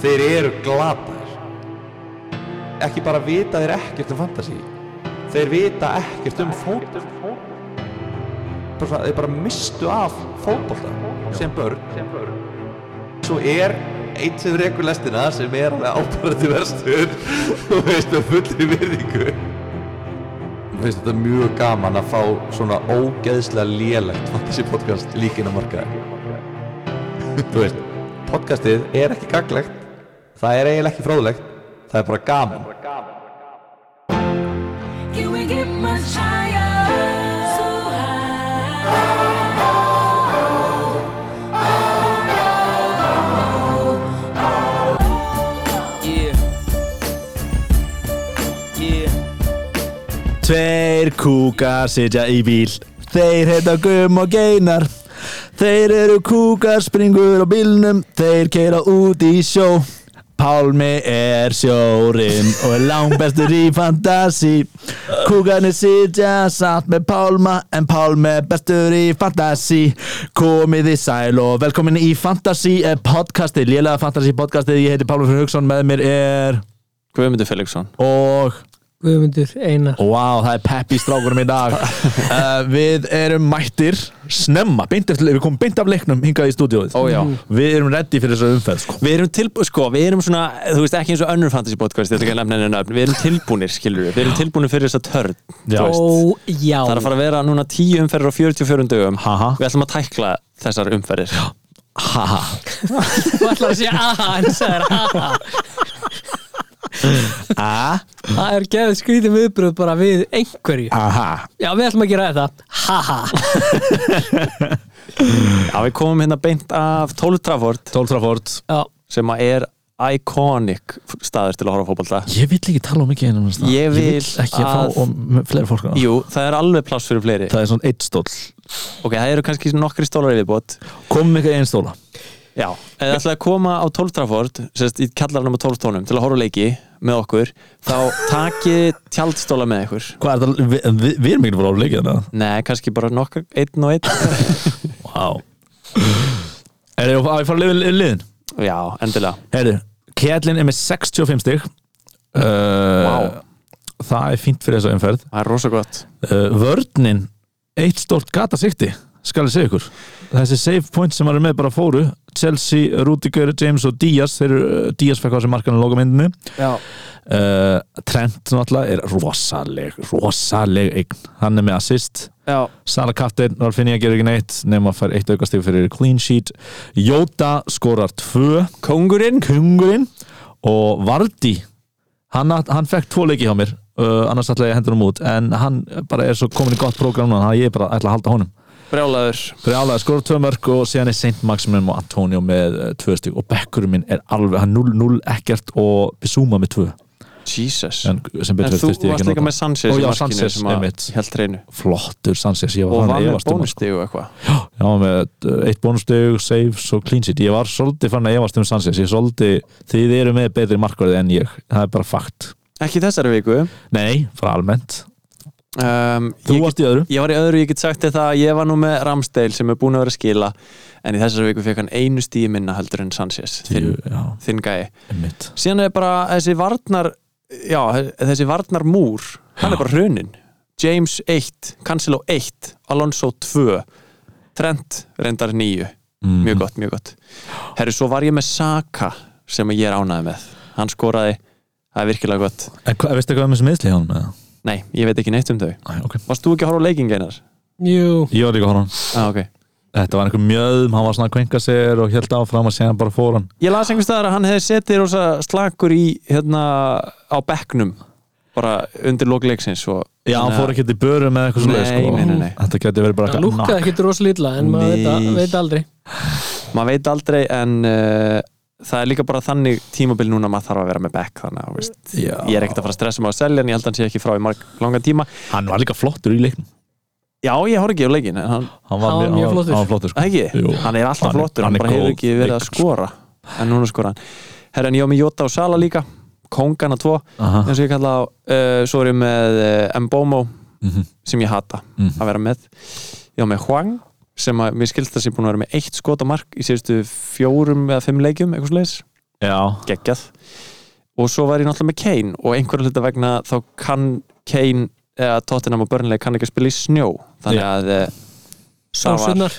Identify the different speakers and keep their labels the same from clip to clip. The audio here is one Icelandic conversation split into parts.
Speaker 1: þeir eru glataðir ekki bara vita þeir ekkert um fantasy þeir vita ekkert um fótbolta Bara svona, þeir bara mistu af fótbolta sem börn svo er einn sem rekur lestina sem er alveg ábærandi verstur og veist með fullri virðingu Mér finnst þetta mjög gaman að fá svona ógeðslega lélegt fantasy podcast líkin á markaði þú veist, podcastið er ekki gaglegt það er eiginlega ekki fróðlegt það er bara gaman
Speaker 2: Can we get much higher? So high.
Speaker 3: Yeah. Yeah.
Speaker 4: Tveir kúkar sitja í bíl Þeir heita Gum og Geinar Þeir eru kúkar, springur á bílnum Þeir keira út í sjó Pálmi er sjórin og er langbestur í fantasi Kúkarnir sitja satt með Pálma En Pálmi er bestur í fantasi Komið í sæl og velkomin í fantasi podcastið Lélega fantasi podcastið, ég heiti Pálmi Fyrir Hugson Með mér er
Speaker 3: Guðmundur Felixson
Speaker 4: og
Speaker 5: Guðmundur Einar
Speaker 4: Vá, það er peppi í strákurum í dag uh, Við erum mættir snemma, beint eftir, við komum beint af leiknum hingað í stúdíóið
Speaker 3: Ó, já.
Speaker 4: Við erum reddi fyrir þessu umferð sko.
Speaker 3: Við erum tilbúinir, sko, við erum svona, þú veist ekki eins og önnur fantasy podcast, þetta ekki að nefna henni nöfn, við erum tilbúinir, skilur við, við erum tilbúinir fyrir þessa törn,
Speaker 4: Já.
Speaker 3: þú veist.
Speaker 5: Ó, já
Speaker 3: Það er að fara að vera núna 10 umferðir á 44 dögum,
Speaker 4: Haha.
Speaker 3: við ætlum að tækla þessar umferðir.
Speaker 4: Haha,
Speaker 5: Þú ætlar að segja aha, en það er aha
Speaker 4: a,
Speaker 5: Það er geðið skrítið viðbröð bara við einhverju
Speaker 4: aha
Speaker 5: Já, við ætlum að gera þetta Haha
Speaker 3: Já, við komum hérna beint af 12 Trafford,
Speaker 4: 12 Trafford
Speaker 5: Já,
Speaker 3: sem að er iconic staður til að horfa á fótbolta.
Speaker 4: Ég vill ekki tala um ekki einum
Speaker 3: Ég
Speaker 4: Ég
Speaker 3: vil
Speaker 4: vill ekki að
Speaker 3: að-
Speaker 4: fá um fleiri fólk hana.
Speaker 3: Jú, það er alveg pláss fyrir fleiri.
Speaker 4: Það er svona eitt stóll
Speaker 3: Ok, það eru kannski nokkri stólar yfirbót.
Speaker 4: Komum ekki einn stóla
Speaker 3: Já, eða ætlaði að koma á 12 Trafford sérst í kallarnum á 12 tónum til að horfa á leiki með okkur, þá takið tjaldstóla með ykkur
Speaker 4: Hvað er það, við, við, við erum ekki að fara á leikið hérna. þetta
Speaker 3: Nei, kannski bara nokkur, einn og einn
Speaker 4: Vá Er það að ég fara að lifa liðin?
Speaker 3: Já, endilega
Speaker 4: Herru, Kjellin er með 65 stig uh,
Speaker 3: Vá.
Speaker 4: Það er fínt fyrir þessa umferð
Speaker 3: Það er rosa gott
Speaker 4: uh, Vörnin, eitt stórt gata sikti skal ég segja ykkur Þessi save point sem maður er með bara fóru Chelsea, Rudiger, James og Díaz þeir, eru- Díaz fekk á þessi markanum loka myndinni
Speaker 3: Já,
Speaker 4: uh, Trent náttúrulega er rosaleg rosaleg eign, hann er með assist
Speaker 3: já,
Speaker 4: Sala Kaptein, Ralfinja gerir ekki neitt nema að fær eitt aukastig fyrir clean sheet Jóta skorar tvö Kongurinn Kongurinn og Vardi hann, átt- hann fekk tvo leiki hjá mér uh, annars ætla ég að hendur hann út en hann bara er svo komin í gott prógram núna þannig að ég bara ætla að halda honum
Speaker 3: brjálaður
Speaker 4: Brjálaði skorar tvö mörg og síðan er Saint Maximum og Antonio með uh, tvö stík og bekkurinn minn er alveg hann 0-0 ekkert og Bissouma með tvö
Speaker 3: Jesus En,
Speaker 4: en sem betur fer
Speaker 3: þú
Speaker 4: þurfti ég
Speaker 3: varst
Speaker 4: ekki að
Speaker 3: líka
Speaker 4: nota.
Speaker 3: með Sanchez í
Speaker 4: Ó, já,
Speaker 3: markinu
Speaker 4: Sanchez,
Speaker 3: sem að
Speaker 4: einmitt.
Speaker 3: Helt reynu
Speaker 4: flottur Sanchez ég var
Speaker 3: Og
Speaker 4: farin
Speaker 3: var
Speaker 4: að
Speaker 3: með
Speaker 4: efast um hann, sko.
Speaker 3: bónustígu og eitthvað
Speaker 4: Já, með uh, eitt bónusteg, saves og clean sheet Ég var svolítið fann að efast um Sanchez Ég svolítið, þið eru með betri markverði en ég Það er bara fakt
Speaker 3: Ekki í þessari viku
Speaker 4: Nei, frá almennt
Speaker 3: um,
Speaker 4: Þú
Speaker 3: ég,
Speaker 4: varst í öðru
Speaker 3: ég var í öðru, ég get sagt þetta að Ég var nú með Ramsdale sem er búin að vera að skila En í þessari viku fekk hann einu stíu minna heldur en Sanchez Þinn,
Speaker 4: Jú, Já,
Speaker 3: þinn gæi
Speaker 4: einmitt
Speaker 3: síðan er bara þessi varnar já, þessi varnar múr hann er bara hrunin James 1, Cancelo 1, Alonso 2 Trent reyndar 9
Speaker 4: mm.
Speaker 3: mjög gott, mjög gott herru, svo var ég með Saka sem ég er ánæði með hann skoraði, það er virkilega gott
Speaker 4: En hva, veistu hvað er með sem meðsli hjá hann með það?
Speaker 3: nei, ég veit ekki neitt um þau
Speaker 4: Æ, ok
Speaker 3: varst þú ekki að horfa á leiking einar?
Speaker 5: jú
Speaker 4: Ég var líka að horfa á hann
Speaker 3: Ah, okay.
Speaker 4: Þetta var einhver mjöðum, hann var svona að kvenka sér og held áfram að segja hann bara fór hann
Speaker 3: ég las einhvers staðar að hann hefði setið rosa slakur í hérna á bekknum bara undir lokleiksins og
Speaker 4: Já, hann fór ekki til börum eða eitthvað
Speaker 3: Nei,
Speaker 4: svona sko.
Speaker 3: nei, nei, nei.
Speaker 4: Þetta geti verið bara
Speaker 5: Það lúkkaði
Speaker 4: knock.
Speaker 5: ekkert rosalítla en maður veit, að,
Speaker 3: Nei.
Speaker 5: veit aldrei
Speaker 3: maður veit aldrei en uh, það er líka bara þannig tímabil núna að maður þarf að vera með back þannig að þú veist,
Speaker 4: Já.
Speaker 3: ég er ekkert að fara að stressa mig að selja en ég held að hann sé ekki frá í marg, langan tíma
Speaker 4: Hann var líka flottur í leiknum
Speaker 3: já ég horf ekki á leikin en hann,
Speaker 5: Hann
Speaker 4: Hann
Speaker 5: var mjög
Speaker 4: hann
Speaker 5: flottur.
Speaker 4: Hann var flottur sko.
Speaker 3: ekki,
Speaker 4: Jú.
Speaker 3: hann er alltaf
Speaker 4: Hann er-
Speaker 3: flottur
Speaker 4: hann
Speaker 3: hann,
Speaker 4: er
Speaker 3: bara hefur
Speaker 4: góð
Speaker 3: ekki verið að
Speaker 4: leikmaður.
Speaker 3: skora en núna skora hann herra en ég á með Jota og Sala líka kongana tvo
Speaker 4: Aha.
Speaker 3: eins og ég kalla á uh, svo er ég með uh, Mbomo
Speaker 4: Mhm.
Speaker 3: sem ég hata
Speaker 4: Mhm.
Speaker 3: að vera með ég á með Hwang sem að mér skilst að sé búin að vera með eitt skot á mark í síðustu fjórum eða fimm leikjum eitthvað slags
Speaker 4: Já,
Speaker 3: geggjað og svo var ég náttúrulega með Kane og einhverju hluta vegna þá kann Kane eða Tottenham og Burnley kann ekki að spila í snjó þannig
Speaker 4: Já.
Speaker 3: að eh, það var
Speaker 5: Sásunar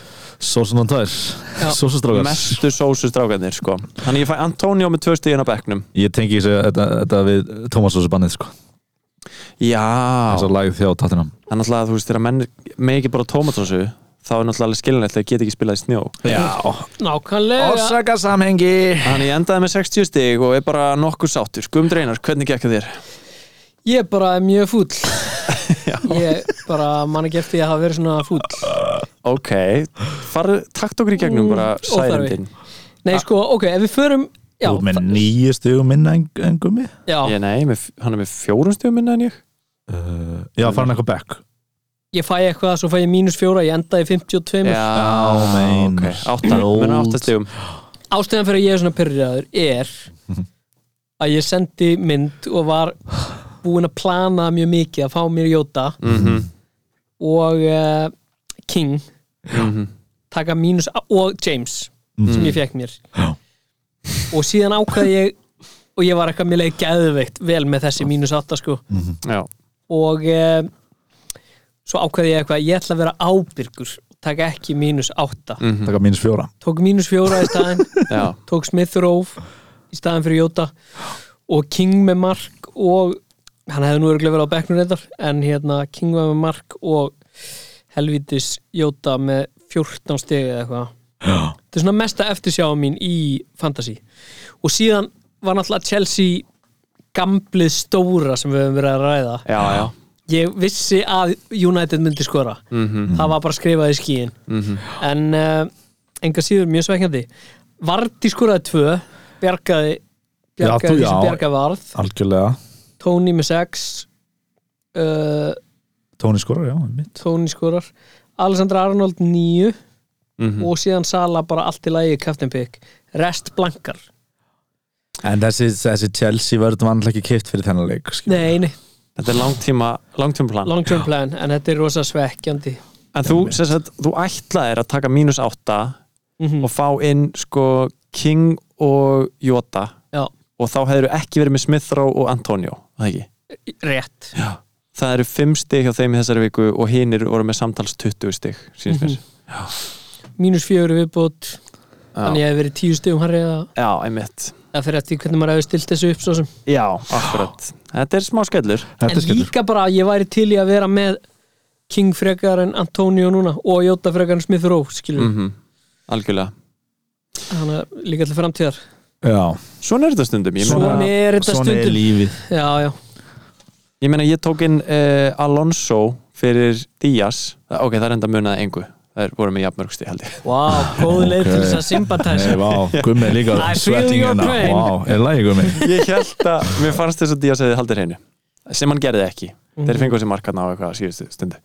Speaker 4: sósunan tær
Speaker 5: Já.
Speaker 4: Sósustrákar
Speaker 3: mestu sósustrákarnir sko. þannig ég fæ Antonio með tvö stíðin á bekknum
Speaker 4: Ég tengi þessu þetta, þetta við Thomas Sósubannið sko
Speaker 3: já,
Speaker 4: Þessar lagið þjá tattinam
Speaker 3: það er náttúrulega þú veist þegar menn með ekki bara tómatósu þá er náttúrulega skilinlegt þegar geta ekki spilað í snjó
Speaker 4: Já,
Speaker 5: Nákvæmlega
Speaker 4: samhengi
Speaker 3: þannig ég endaði með 60 stíg og er bara nokkuð sáttur Guðmundur Einar, hvernig gekk að þér?
Speaker 5: Ég bara er mjög fúll Ég bara man ekki eftir því að hafa verið svona fúll
Speaker 3: ok, farðu, takt okkur í gegnum bara
Speaker 5: óþarfi.
Speaker 3: særendin
Speaker 5: Nei sko, ok, ef við förum Já,
Speaker 4: Þú ert með nýju stugum minna en, en gummi
Speaker 5: já
Speaker 3: ég, nei, með, hann er með fjórum stíðum minna en ég
Speaker 4: uh, Já, farin eitthvað back
Speaker 5: ég fæ eitthvað, svo fæ ég mínus fjóra Ég endaði í 52
Speaker 3: Já,
Speaker 4: Já, meinar.
Speaker 3: ok, átta,
Speaker 4: Ljót.
Speaker 3: menn átta stigum
Speaker 5: ástæðan fyrir að ég er svona pyrraður er að ég sendi mynd og var búinn að plana mjög mikið að fá mér Jóta
Speaker 3: Mhm.
Speaker 5: og uh, King taka mínus og James sem ég fekk mér
Speaker 4: Já.
Speaker 5: og síðan ákvaði ég og ég var eitthvað mér leið geðveikt vel með þessi mínus 8 sko
Speaker 3: Já,
Speaker 5: og uh, svo ákvaði ég eitthvað ég ætla að vera ábyrgur taka ekki mínus 8
Speaker 4: Takk að mínus fjóra
Speaker 5: tók mínus 4 í staðinn
Speaker 3: já,
Speaker 5: tók Smith Rowe í staðan fyrir Jóta og King með mark og hann hefði nú örgulega verið á bekknum reyndar en hérna King var með mark og helvitis Jóta með 14 stegi eða eitthvað
Speaker 4: Já.
Speaker 5: þetta er svona mesta eftirsjáum mín í fantasy og síðan var náttúrulega Chelsea gamblið stóra sem við höfum verið að ræða
Speaker 3: já, já
Speaker 5: ég vissi að United myndi skora
Speaker 3: Mhm.
Speaker 5: það var bara skrifað í skíin en uh, enga síður mjög svekkjandi Vardi skoraði tvö bjargaði,
Speaker 4: Já, þú-
Speaker 5: bjargaði því sem
Speaker 4: já.
Speaker 5: bjargaði varð
Speaker 4: Algjörlega
Speaker 5: Tony með sex uh,
Speaker 4: Tóni skorar, já, mitt
Speaker 5: Tony skorar Alexander Arnold níu
Speaker 3: Mhm.
Speaker 5: og síðan Sala bara allt í lagi Captain Pick, rest blankar
Speaker 4: En þessi, þessi Chelsea verður mannlega ekki keipt fyrir þennan leik sko. skilur.
Speaker 5: nei, nei,
Speaker 3: Þetta er langtíma, langtíma plan
Speaker 5: long term plan en þetta er rosa svekkjandi
Speaker 3: En þú, sem sagt, þú ætlaðir að taka mínus átta
Speaker 5: Mhm.
Speaker 3: og fá inn sko King og Jota
Speaker 5: já,
Speaker 3: og þá hefur ekki verið með Smith Rowe og Antonio það ekki?
Speaker 5: rétt
Speaker 3: Það eru fimm stig hjá þeim í þessari viku og hinir voru með samtals 20 stig sínst mér
Speaker 5: mínus fjögur í viðbót þannig að ég hef verið tíu stegum harri eða
Speaker 3: Já, einmitt
Speaker 5: Það fyrir eftir hvernig maður hefur stilt þessu upp svo sem
Speaker 3: Já, akkurat Þetta er smá skellur
Speaker 4: Þetta
Speaker 5: En
Speaker 4: er skellur
Speaker 5: líka bara að ég væri til í að vera með King frekar en Antonio núna og Jóta frekar en Smith Rowe skilur
Speaker 3: mm
Speaker 5: mm.
Speaker 3: Algjörlega
Speaker 5: Þannig að líka til framtíðar
Speaker 4: Já,
Speaker 3: Svona er þetta stundum ég meina-
Speaker 5: Svona er þetta
Speaker 4: svona er
Speaker 5: stundum
Speaker 4: lífið
Speaker 5: Já, já,
Speaker 3: Ég meina ég tók inn uh, Alonso fyrir Díaz Ah, Ok, það er enda munaði engu Það er, voru með jafnmörgsti held ég
Speaker 5: vá, góð leið til þess að
Speaker 4: Nei,
Speaker 5: sympatæsa
Speaker 4: vá, gummi er líka
Speaker 5: I feel
Speaker 4: svetting
Speaker 5: your
Speaker 4: hérna.
Speaker 5: pain.
Speaker 4: Vá, er lægi gummi
Speaker 3: Ég held að, mér fannst þess að Díaz hefði haldið hreinu Sem hann gerði ekki Þeir fengu þessi markarna á eitthvað á síðustu stundu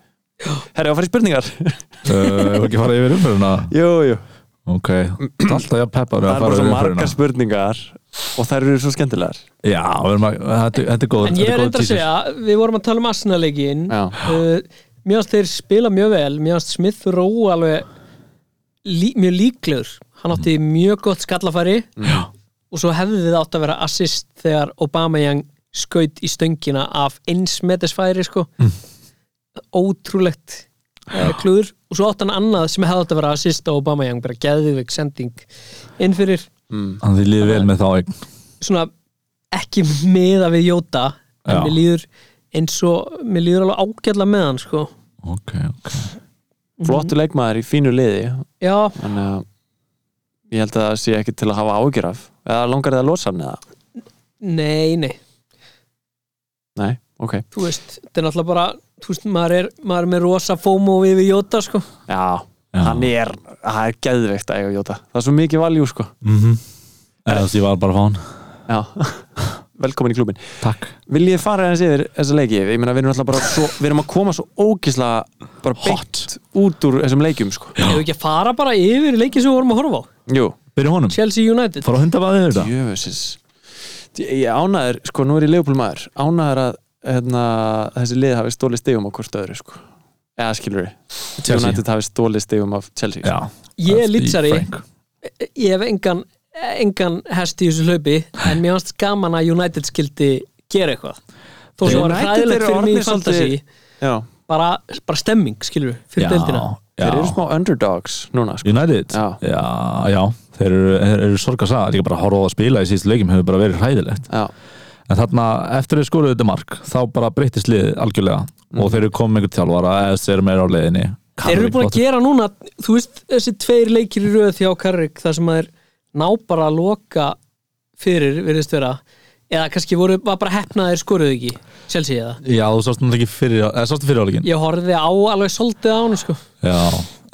Speaker 3: Herra, að fara í spurningar
Speaker 4: Það er Uh, ekki farið yfir umfyrirna
Speaker 3: Jú, jú
Speaker 4: Ok, Þú ert alltaf ég peppar
Speaker 3: Það eru
Speaker 4: að
Speaker 3: bara
Speaker 4: fara
Speaker 3: svo
Speaker 4: yfir
Speaker 3: margar
Speaker 4: umfyrirna
Speaker 3: spurningar Og þær eru svo skemmtilegar
Speaker 4: Já, við erum að- þetta þetta er góð
Speaker 5: En ég er reyndar að segja, við vorum að tala um Arsenal-leikin
Speaker 3: Já.
Speaker 5: uh, Mér ást þeir spila mjög vel Mér ást Smith Rowe alveg lí, mjög líklegur Hann átti mjög gott skallafæri
Speaker 4: Mm. Já,
Speaker 5: og svo hefði þið átt að vera assist þegar Aubameyang skaut í stöngina af eins metisfæri sko
Speaker 4: Mm.
Speaker 5: ótrúlegt eh, klúður og svo átt hann annað sem hefði átt að vera assist á Aubameyang, bara geðvig sending inn fyrir
Speaker 4: þannig þið líður vel með þá eign
Speaker 5: svona ekki meða við Jóta en
Speaker 4: Já.
Speaker 5: mér líður eins og mér líður alveg ágætla með hann sko
Speaker 4: Ok, ok
Speaker 5: Mhm.
Speaker 3: Flottu leikmaður í fínu liði
Speaker 5: já,
Speaker 3: Þannig að ég held að það sé ekki til að hafa ágjur af Eða langar þið að losa hann eða?
Speaker 5: nei, nei
Speaker 3: Nei, ok
Speaker 5: þú veist, þetta er náttúrulega bara þú veist, maður er, maður er með rosa fómo við Jóta sko
Speaker 3: Já, hann er, það er geðveikt að eiga Jóta Það er svo mikið valjú sko
Speaker 4: Mhm. Eða þess að ég var bara að fá hann
Speaker 3: Já, velkomin í klubin
Speaker 4: Takk
Speaker 3: Viljið fara aðeins yfir þessa leiki? Ég meina, við erum alltaf bara svo, við erum að koma svo ógisla bara beint út úr þessum leikjum sko
Speaker 5: hefur ekki að fara bara yfir leikin sem við vorum að horfa á
Speaker 3: Jú,
Speaker 4: Byrjum honum,
Speaker 5: Chelsea United
Speaker 4: fara hundabæðið yfir þetta
Speaker 3: jöfusins Ég ánaður, sko, nú er ég leifbúl maður Ánaður að hérna, þessi lið hafi stólið stigum á hvort öðru sko Eða skilur við
Speaker 4: Chelsea.
Speaker 3: United hafi stólið stigum af Chelsea sko.
Speaker 4: Já,
Speaker 5: Ég er
Speaker 4: Eftir
Speaker 5: litsari.
Speaker 4: Frank.
Speaker 5: ég hef engan engan hest í þessu hlaupi en mér fannst gaman að United skildi gera eitthvað þó sem var
Speaker 3: United
Speaker 5: hræðilegt
Speaker 3: eru
Speaker 5: fyrir mig
Speaker 3: orðnir
Speaker 5: í fantasy
Speaker 3: svolítið- já,
Speaker 5: bara, bara stemming, skilur við, fyrir deildina
Speaker 3: þeir eru smá underdogs núna sko.
Speaker 4: United?
Speaker 3: Já.
Speaker 4: já, já. Þeir eru, þeir eru sorgarsaga, líka bara horfað að spila í síðustu leikim hefur bara verið hræðilegt
Speaker 3: já,
Speaker 4: en þarna, eftir þeir skoruðu þetta mark þá bara breyttist liðið algjörlega og þeir eru komið einhver þjálfara eða þeir eru meira á leiðinni
Speaker 5: Þeir eru búin að gera núna, þú veist þessi tveir leikir í röð þjá Karrik þar sem að þeir ná bara að loka fyrir, virðist vera eða kannski voru, var bara hefnaðir skoruð ekki sjálfsíði eða
Speaker 4: Já, þú sást náttúrulega ekki fyrir, eða sástu fyrir áleikin
Speaker 5: Ég horfði á alveg soldið á hann sko
Speaker 4: Já,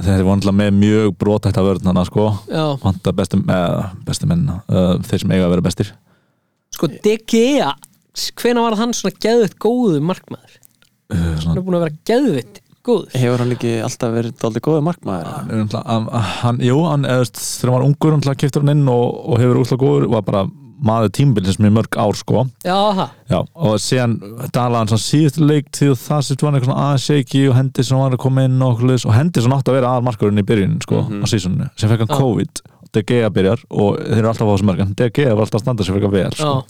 Speaker 4: þeir voru náttúrulega með mjög brotætt af vörnana sko
Speaker 5: Já.
Speaker 4: vantar bestu, eh, bestu menna uh, þeir sem eiga að vera bestir
Speaker 5: Sko De Gea, hvena var hann svona geðvitt góðu markmaður?
Speaker 4: uh,
Speaker 5: Hann
Speaker 4: svona, Eh,
Speaker 5: er búin að vera geðvitt góður
Speaker 3: hefur hann ekki alltaf verið daldið góðið markmaður
Speaker 4: hann, er náttúrulega- hann, hann, Jú, hann, eða, þú veist, þegar hann var ungur hann keftur hann inn og, og hefur útla góður var bara maður tímbilsins mjög mörg ár sko
Speaker 5: Já, það,
Speaker 4: Já, og síðan dalaði hann svona síðustu leik til það sem var eitthvað aðeins shaky og Henderson var að koma inn og okkur leis og Henderson átti að vera aðalmarkurinn í byrjun sko, á sísunni, sem fekk hann
Speaker 5: Mhm. Já.
Speaker 4: COVID og De Gea byrjar og þeir eru alltaf á þessu mörg en De Gea var alltaf að standa sem fekk að vera
Speaker 5: já
Speaker 4: sko.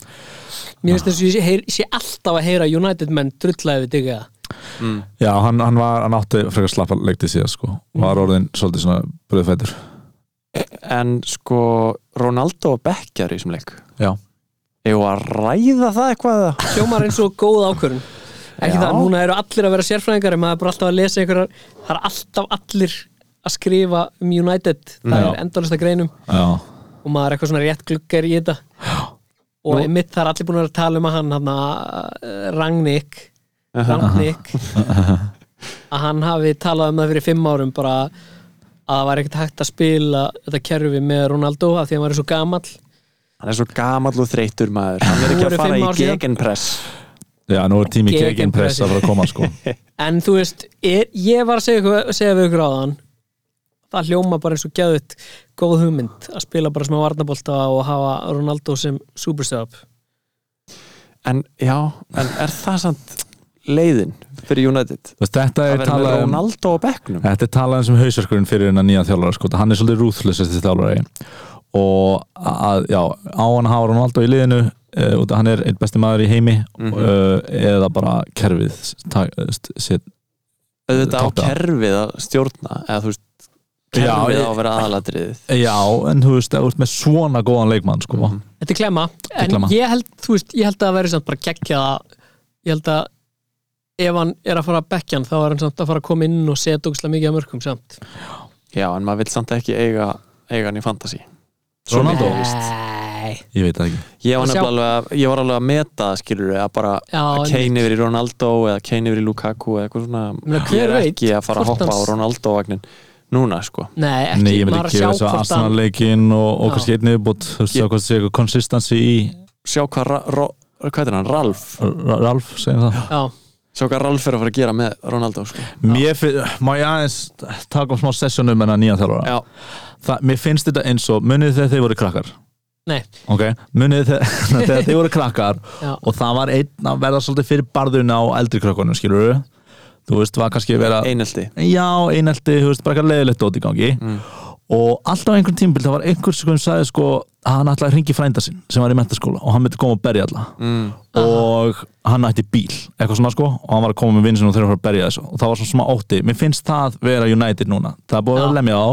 Speaker 5: Mér finnst þess að ég sé, sé alltaf að heyra United menn drullaði við De Gea
Speaker 4: Já, hann, hann, var, hann átti frekar slappa leik til síðan sko,
Speaker 3: Mm.
Speaker 4: og var orðin svolítið svona bröðfætur
Speaker 3: en sko Ronaldo og Becker í þessum leik
Speaker 4: Já,
Speaker 3: hefur að ræða það eitthvað eða?
Speaker 5: hljómar eins og góð ákvörun ekki
Speaker 3: Já.
Speaker 5: það, núna eru allir að vera sérfræðingar en maður er bara alltaf að lesa einhverjar það er alltaf allir að skrifa um United, það
Speaker 4: Já.
Speaker 5: er endalista greinum
Speaker 4: já,
Speaker 5: og maður er eitthvað svona rétt gluggar í þetta og
Speaker 3: Nú-
Speaker 5: einmitt það er allir búin að vera að tala um að hann hann að Rangnick Rangnick að hann hafi talað um það fyrir fimm árum bara að það var ekkert hægt að spila þetta kerfi með Ronaldo af því að hann var svo gamall
Speaker 3: hann er svo gamall og þreytur maður hann er
Speaker 5: Nú
Speaker 3: ekki að
Speaker 5: eru
Speaker 3: fara
Speaker 5: fimm
Speaker 3: í
Speaker 5: ár síðan.
Speaker 3: gegenpress
Speaker 4: já, nú er tími
Speaker 5: Gegenpress.
Speaker 4: gegenpress að fara að koma sko.
Speaker 5: En þú veist, er, ég var að segja, ykkur- segja við ykkur á þann Það hljóma bara eins og gæðut góð hugmynd að spila bara smá varnabolta og hafa Ronaldo sem superstöðab
Speaker 3: en já, en er það samt leiðin fyrir United
Speaker 4: Þú veist, Þetta
Speaker 3: að
Speaker 4: er
Speaker 3: vera með
Speaker 4: talað um
Speaker 3: Ronaldo á Becknum
Speaker 4: Þetta er talað um sem hausverkurinn fyrir hennar nýja þjálfara sko. hann er svolítið rúðlös þessi þjálfari og að, já, á hann hafa Ronaldo í liðinu uh, út að hann er einn besti maður í heimi mm
Speaker 3: Mhm.
Speaker 4: eða bara kerfið ta, eh, st, set,
Speaker 3: auðvitað á
Speaker 4: Totta.
Speaker 3: kerfið að stjórna eða þú veist,
Speaker 4: Já,
Speaker 3: kerfið
Speaker 4: ég-
Speaker 3: á að vera aðalatriðið
Speaker 4: Já, en þú veist, ef þú ert með svona góðan leikmann sko.
Speaker 3: Mhm.
Speaker 5: Þetta er klemma,
Speaker 4: er
Speaker 5: en
Speaker 4: klemma.
Speaker 5: ég held þú veist, ég held að það verið samt bara geggja ég held að ef hann er að fara að bekkja hann þá er hann samt að fara að koma inn og setja ógislega mikið að mörgum samt
Speaker 3: já, en maður vil samt ekki eiga eiga hann í fantasy
Speaker 4: Ronaldo,
Speaker 5: Nei,
Speaker 4: ég veit það ekki
Speaker 3: ég var,
Speaker 5: Að sjá-
Speaker 3: nefnilega alveg, að- ég var alveg að meta skilur við, að bara
Speaker 5: Já,
Speaker 3: að
Speaker 5: einmitt.
Speaker 3: Kane yfir í Ronaldo eða Kane yfir í Lukaku eða eitthvað svona
Speaker 5: meina,
Speaker 3: ég
Speaker 5: hver
Speaker 3: er
Speaker 5: veit
Speaker 3: ekki að fara að
Speaker 5: hvort
Speaker 3: hoppa á
Speaker 5: hans-
Speaker 3: Ronaldo-vagnin núna sko
Speaker 5: Nei, ekki,
Speaker 4: Nei, ég myndi
Speaker 5: maður
Speaker 4: ekki
Speaker 5: er að
Speaker 4: þess
Speaker 5: sjá
Speaker 4: að
Speaker 5: hvort hann
Speaker 4: Arsenal-leikin og, og
Speaker 5: Já.
Speaker 4: kannski einn yfirbútt þú veist,
Speaker 3: Ég-
Speaker 4: sjá hvað sé eitthvað konsistansi í
Speaker 3: sjá hvað, Ra- Ro- hvað er hann, Ralf
Speaker 4: R- Ralf, segjum það
Speaker 5: Já,
Speaker 3: sjá hvað Ralf er að fara að gera með Ronaldo sko.
Speaker 4: Mér finn, má ég aðeins taka um smá sessjónum en að nýja þjálfara
Speaker 3: já,
Speaker 4: það, mér finnst þetta eins og munið þegar þeir voru krakkar
Speaker 5: nei,
Speaker 4: ok, munið þegar, þegar þeir voru krakkar
Speaker 5: já,
Speaker 4: og það var einn að verða svolítið fyrir barðuna á eldri krökkunum, skilur þú veist, var kannski að vera
Speaker 3: einelti Mm.
Speaker 4: já, einelti, þú veist, bara eitthvað leiðilegt dót í gangi og alltaf á einhvern tímbil það var einhver sem sagði sko að hann ætlaði að hringi frænda sinn sem var í mentaskóla og hann myndi koma og berja alla
Speaker 3: mm.
Speaker 4: og hann ætti bíl eitthvað svona sko og hann var að koma með vinsinn og þeir voru að berja þessu og það var svona smá ótti mér finnst það vera United núna það er búið að
Speaker 5: Já.
Speaker 4: lemja á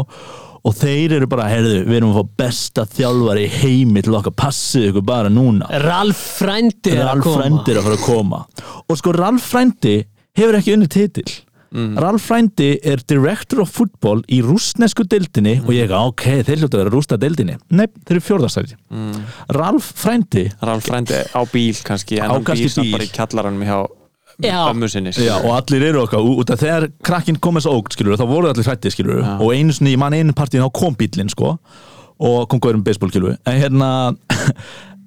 Speaker 4: og þeir eru bara, heyrðu, við erum að fá besta þjálfari í heimi til okkar passið ykkur bara núna
Speaker 5: Ralf Frændi er að
Speaker 4: Ralf
Speaker 5: koma
Speaker 4: Frændi er að fara að koma og sko Ralf Frændi hefur ekki unni titil Ralf Frændi er director of football í rúsnesku deildinni og ég ekki, ok, þeir hljóta að vera að rústa deildinni nei, þeir eru fjórðastæti mm. Ralf Frændi
Speaker 3: Ralf frændi á bíl kannski en
Speaker 4: Á
Speaker 3: hann
Speaker 4: kannski
Speaker 3: býr samt
Speaker 4: bíl.
Speaker 3: bara í kjallaranum hjá
Speaker 5: Já.
Speaker 3: ömmu sinni sko.
Speaker 4: Já, og allir eru okkar, ú- út af þegar krakkin kom eins og ógt, skilur, þá voru allir hrættið, skilur
Speaker 3: Já.
Speaker 4: og einu sinni, ég man einu partíin þá kom bíllinn, sko og kom góður um baseball, skilur en hérna,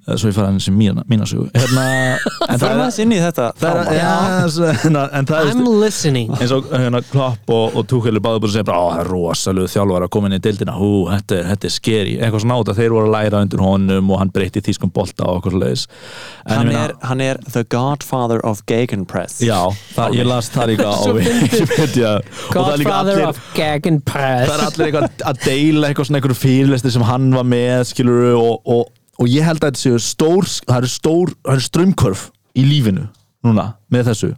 Speaker 4: Eh, svo ég fara aðeins í mína, mína sögu hérna, en
Speaker 3: Förum aðeins inn í þetta
Speaker 4: það er, já, þess- hérna, en það er
Speaker 5: I'm listening
Speaker 4: eins og hérna Klopp og, og Tuchel er báður búin að segja bara, "Á, það er rosalegu þjálfar að koma inn í deildina, hú, þetta er, þetta er skeri eitthvað svona át að þeir voru að læra undir honum og hann breytti þýskum bolta og eitthvað svoleiðis En
Speaker 3: hann
Speaker 4: ég meina-
Speaker 3: er, hann er the godfather of Gegenpress
Speaker 4: Já, það, ég las það líka á Wikipedia og það er líka
Speaker 5: Godfather
Speaker 4: allir
Speaker 5: of Gag and Press
Speaker 4: það er allir eitthvað að deila eitthvað svona einhverju fyrirlestir sem hann var með skilur og, og, og ég held að þetta séu stór það eru stór, það eru strömmkörf í lífinu núna með þessu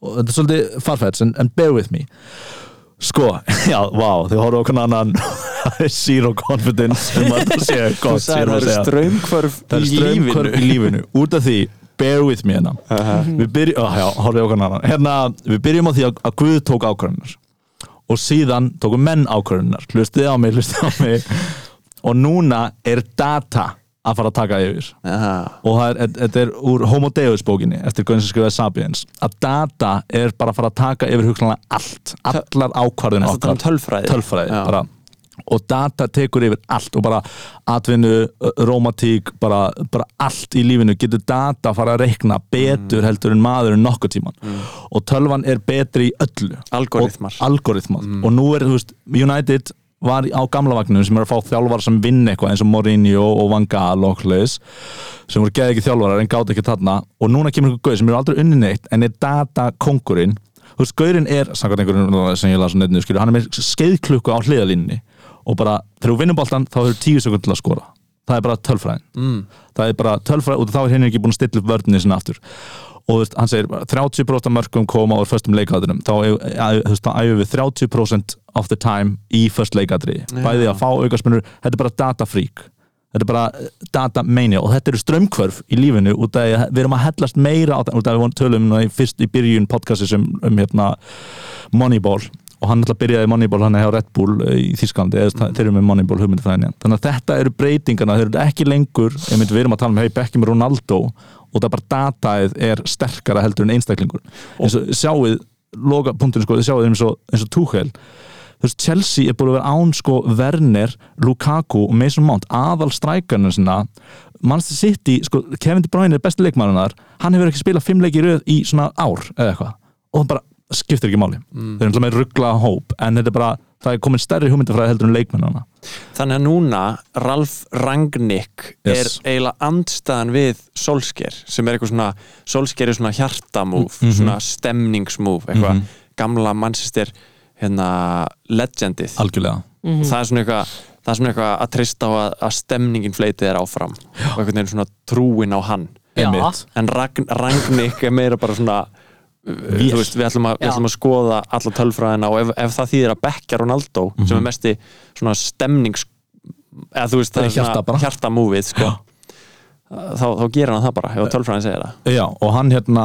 Speaker 4: og þetta er svolítið farfæts en, en bear with me sko, já, vá, þau horfðu okkur annan zero confidence um að það sé
Speaker 3: þú sagði
Speaker 4: gott zero
Speaker 3: það
Speaker 4: að
Speaker 3: eru
Speaker 4: segja.
Speaker 3: strömmkvörf
Speaker 4: það
Speaker 3: í
Speaker 4: eru
Speaker 3: lífinu
Speaker 4: strömmkörf í lífinu út af því, bear with me hérna við byrjum, oh, já, horfðu okkur annan hérna, við byrjum á því að, að Guð tók ákvörðunar og síðan tóku menn ákvörðunar hlustið á mig, hlustið á mig og núna er data að fara að taka yfir
Speaker 3: Aha.
Speaker 4: og það er- þetta er, úr Homo Deus bókinni eftir Guðins að skrifaði Sapiens að data er bara að fara að taka yfir hugsanlega allt, allar ákvarðinu
Speaker 3: Ertu að tala um tölfræði?
Speaker 4: tölfræði
Speaker 3: Já.
Speaker 4: bara og data tekur yfir allt og bara atvinnu, ö, rómatík bara, bara allt í lífinu getur data fara að reikna betur
Speaker 3: Mm.
Speaker 4: heldur en maður en nokkuð tíman og tölvan er betri í öllu
Speaker 3: Algoritmar. Mm.
Speaker 4: og, algoritmar. og nú er, þú veist, United var á gamla vagnum sem er að fá þjálfar sem vinn eitthvað eins og Mourinho og Van Gaal og hlis sem voru geði ekki þjálfarar en gáði ekki þarna og núna kemur einhver gauð sem eru aldrei unni neitt en er data kongurinn þú veist, gaurinn er, samkvæmt einhverjum sem ég las á netinu, skilur, hann er með skeiðklukku á hliðalínni og bara, þegar þú vinnum boltan þá hefur tíu sekund til að skora það er bara tölfræðin mm. það er bara tölfræðin og þá er henni ekki búin að stilla upp vörðinni sinna aftur og þú veist, hann segir bara 30% af mörgum koma úr föstum leikadrinum þá æ- æ- þú veist, þá æfum við 30% of the time í föst leikadri bæði að fá aukaspunur, þetta er bara datafrík þetta er bara eh, datamania og þetta eru strömmkvörf í lífinu út af því að við erum að hellast meira á það út af því að við vorum tölum núna í fyrst í byrjun podcasti sem um hérna Moneyball og hann ætla að byrjaði Moneyball hann er hjá Red Bull eh, í Þísklandi eða mm. þeir eru með Moneyball hugmyndi það henni þannig að þetta eru breytingarna, þeir eru ekki lengur einmitt, við erum að tala um hei Beckham og Ronaldo og það er bara dataið er sterkara heldur en einstaklingur eins og sjáuð loka punktinu sko, þið sjáuð eins og, eins og Tuchel þú veist, Chelsea er búin að vera án sko Werner, Lukaku og Mason Mount aðal strækarnir sinna Manchester City, sko, Kevin De Bruyne er besti leikmarinnar, hann hefur ekki spilað fimm leiki í röð í svona ár eða eitthvað og það bara skiptir ekki máli mm. þeir eru alltaf með ruggla hóp, en þetta er bara það er komin stærri hugmyndafræði heldur en leikmennana
Speaker 3: þannig að núna Ralf Rangnick
Speaker 4: Yes.
Speaker 3: er eiginlega andstæðan við Solskjær sem er eitthvað svona Solskjær er svona hjartamúf
Speaker 4: Mm-hmm.
Speaker 3: svona stemningsmúf eitthvað gamla mannsistir hérna legendið
Speaker 4: algjörlega
Speaker 3: það er svona eitthvað það er svona eitthvað að trista á að, að stemningin fleitið er áfram og einhvern veginn svona trúin á hann
Speaker 5: Já.
Speaker 4: Einmitt.
Speaker 3: en Ragn, Rangnick er meira bara svona uh,
Speaker 4: Vél.
Speaker 3: Þú veist, við, ætlum að, við
Speaker 5: Já.
Speaker 3: ætlum að skoða alla tölfræðina og ef, ef það þýðir að bekkja Ronaldo sem er
Speaker 4: Mhm.
Speaker 3: mest í svona stemnings eða þú veist, það
Speaker 4: Það er
Speaker 3: er
Speaker 4: hjarta
Speaker 3: svona
Speaker 4: bara.
Speaker 3: hjartamúfið sko. þá, þá gerir hann það bara ef tölfræðin segir það
Speaker 4: já, og hann hérna,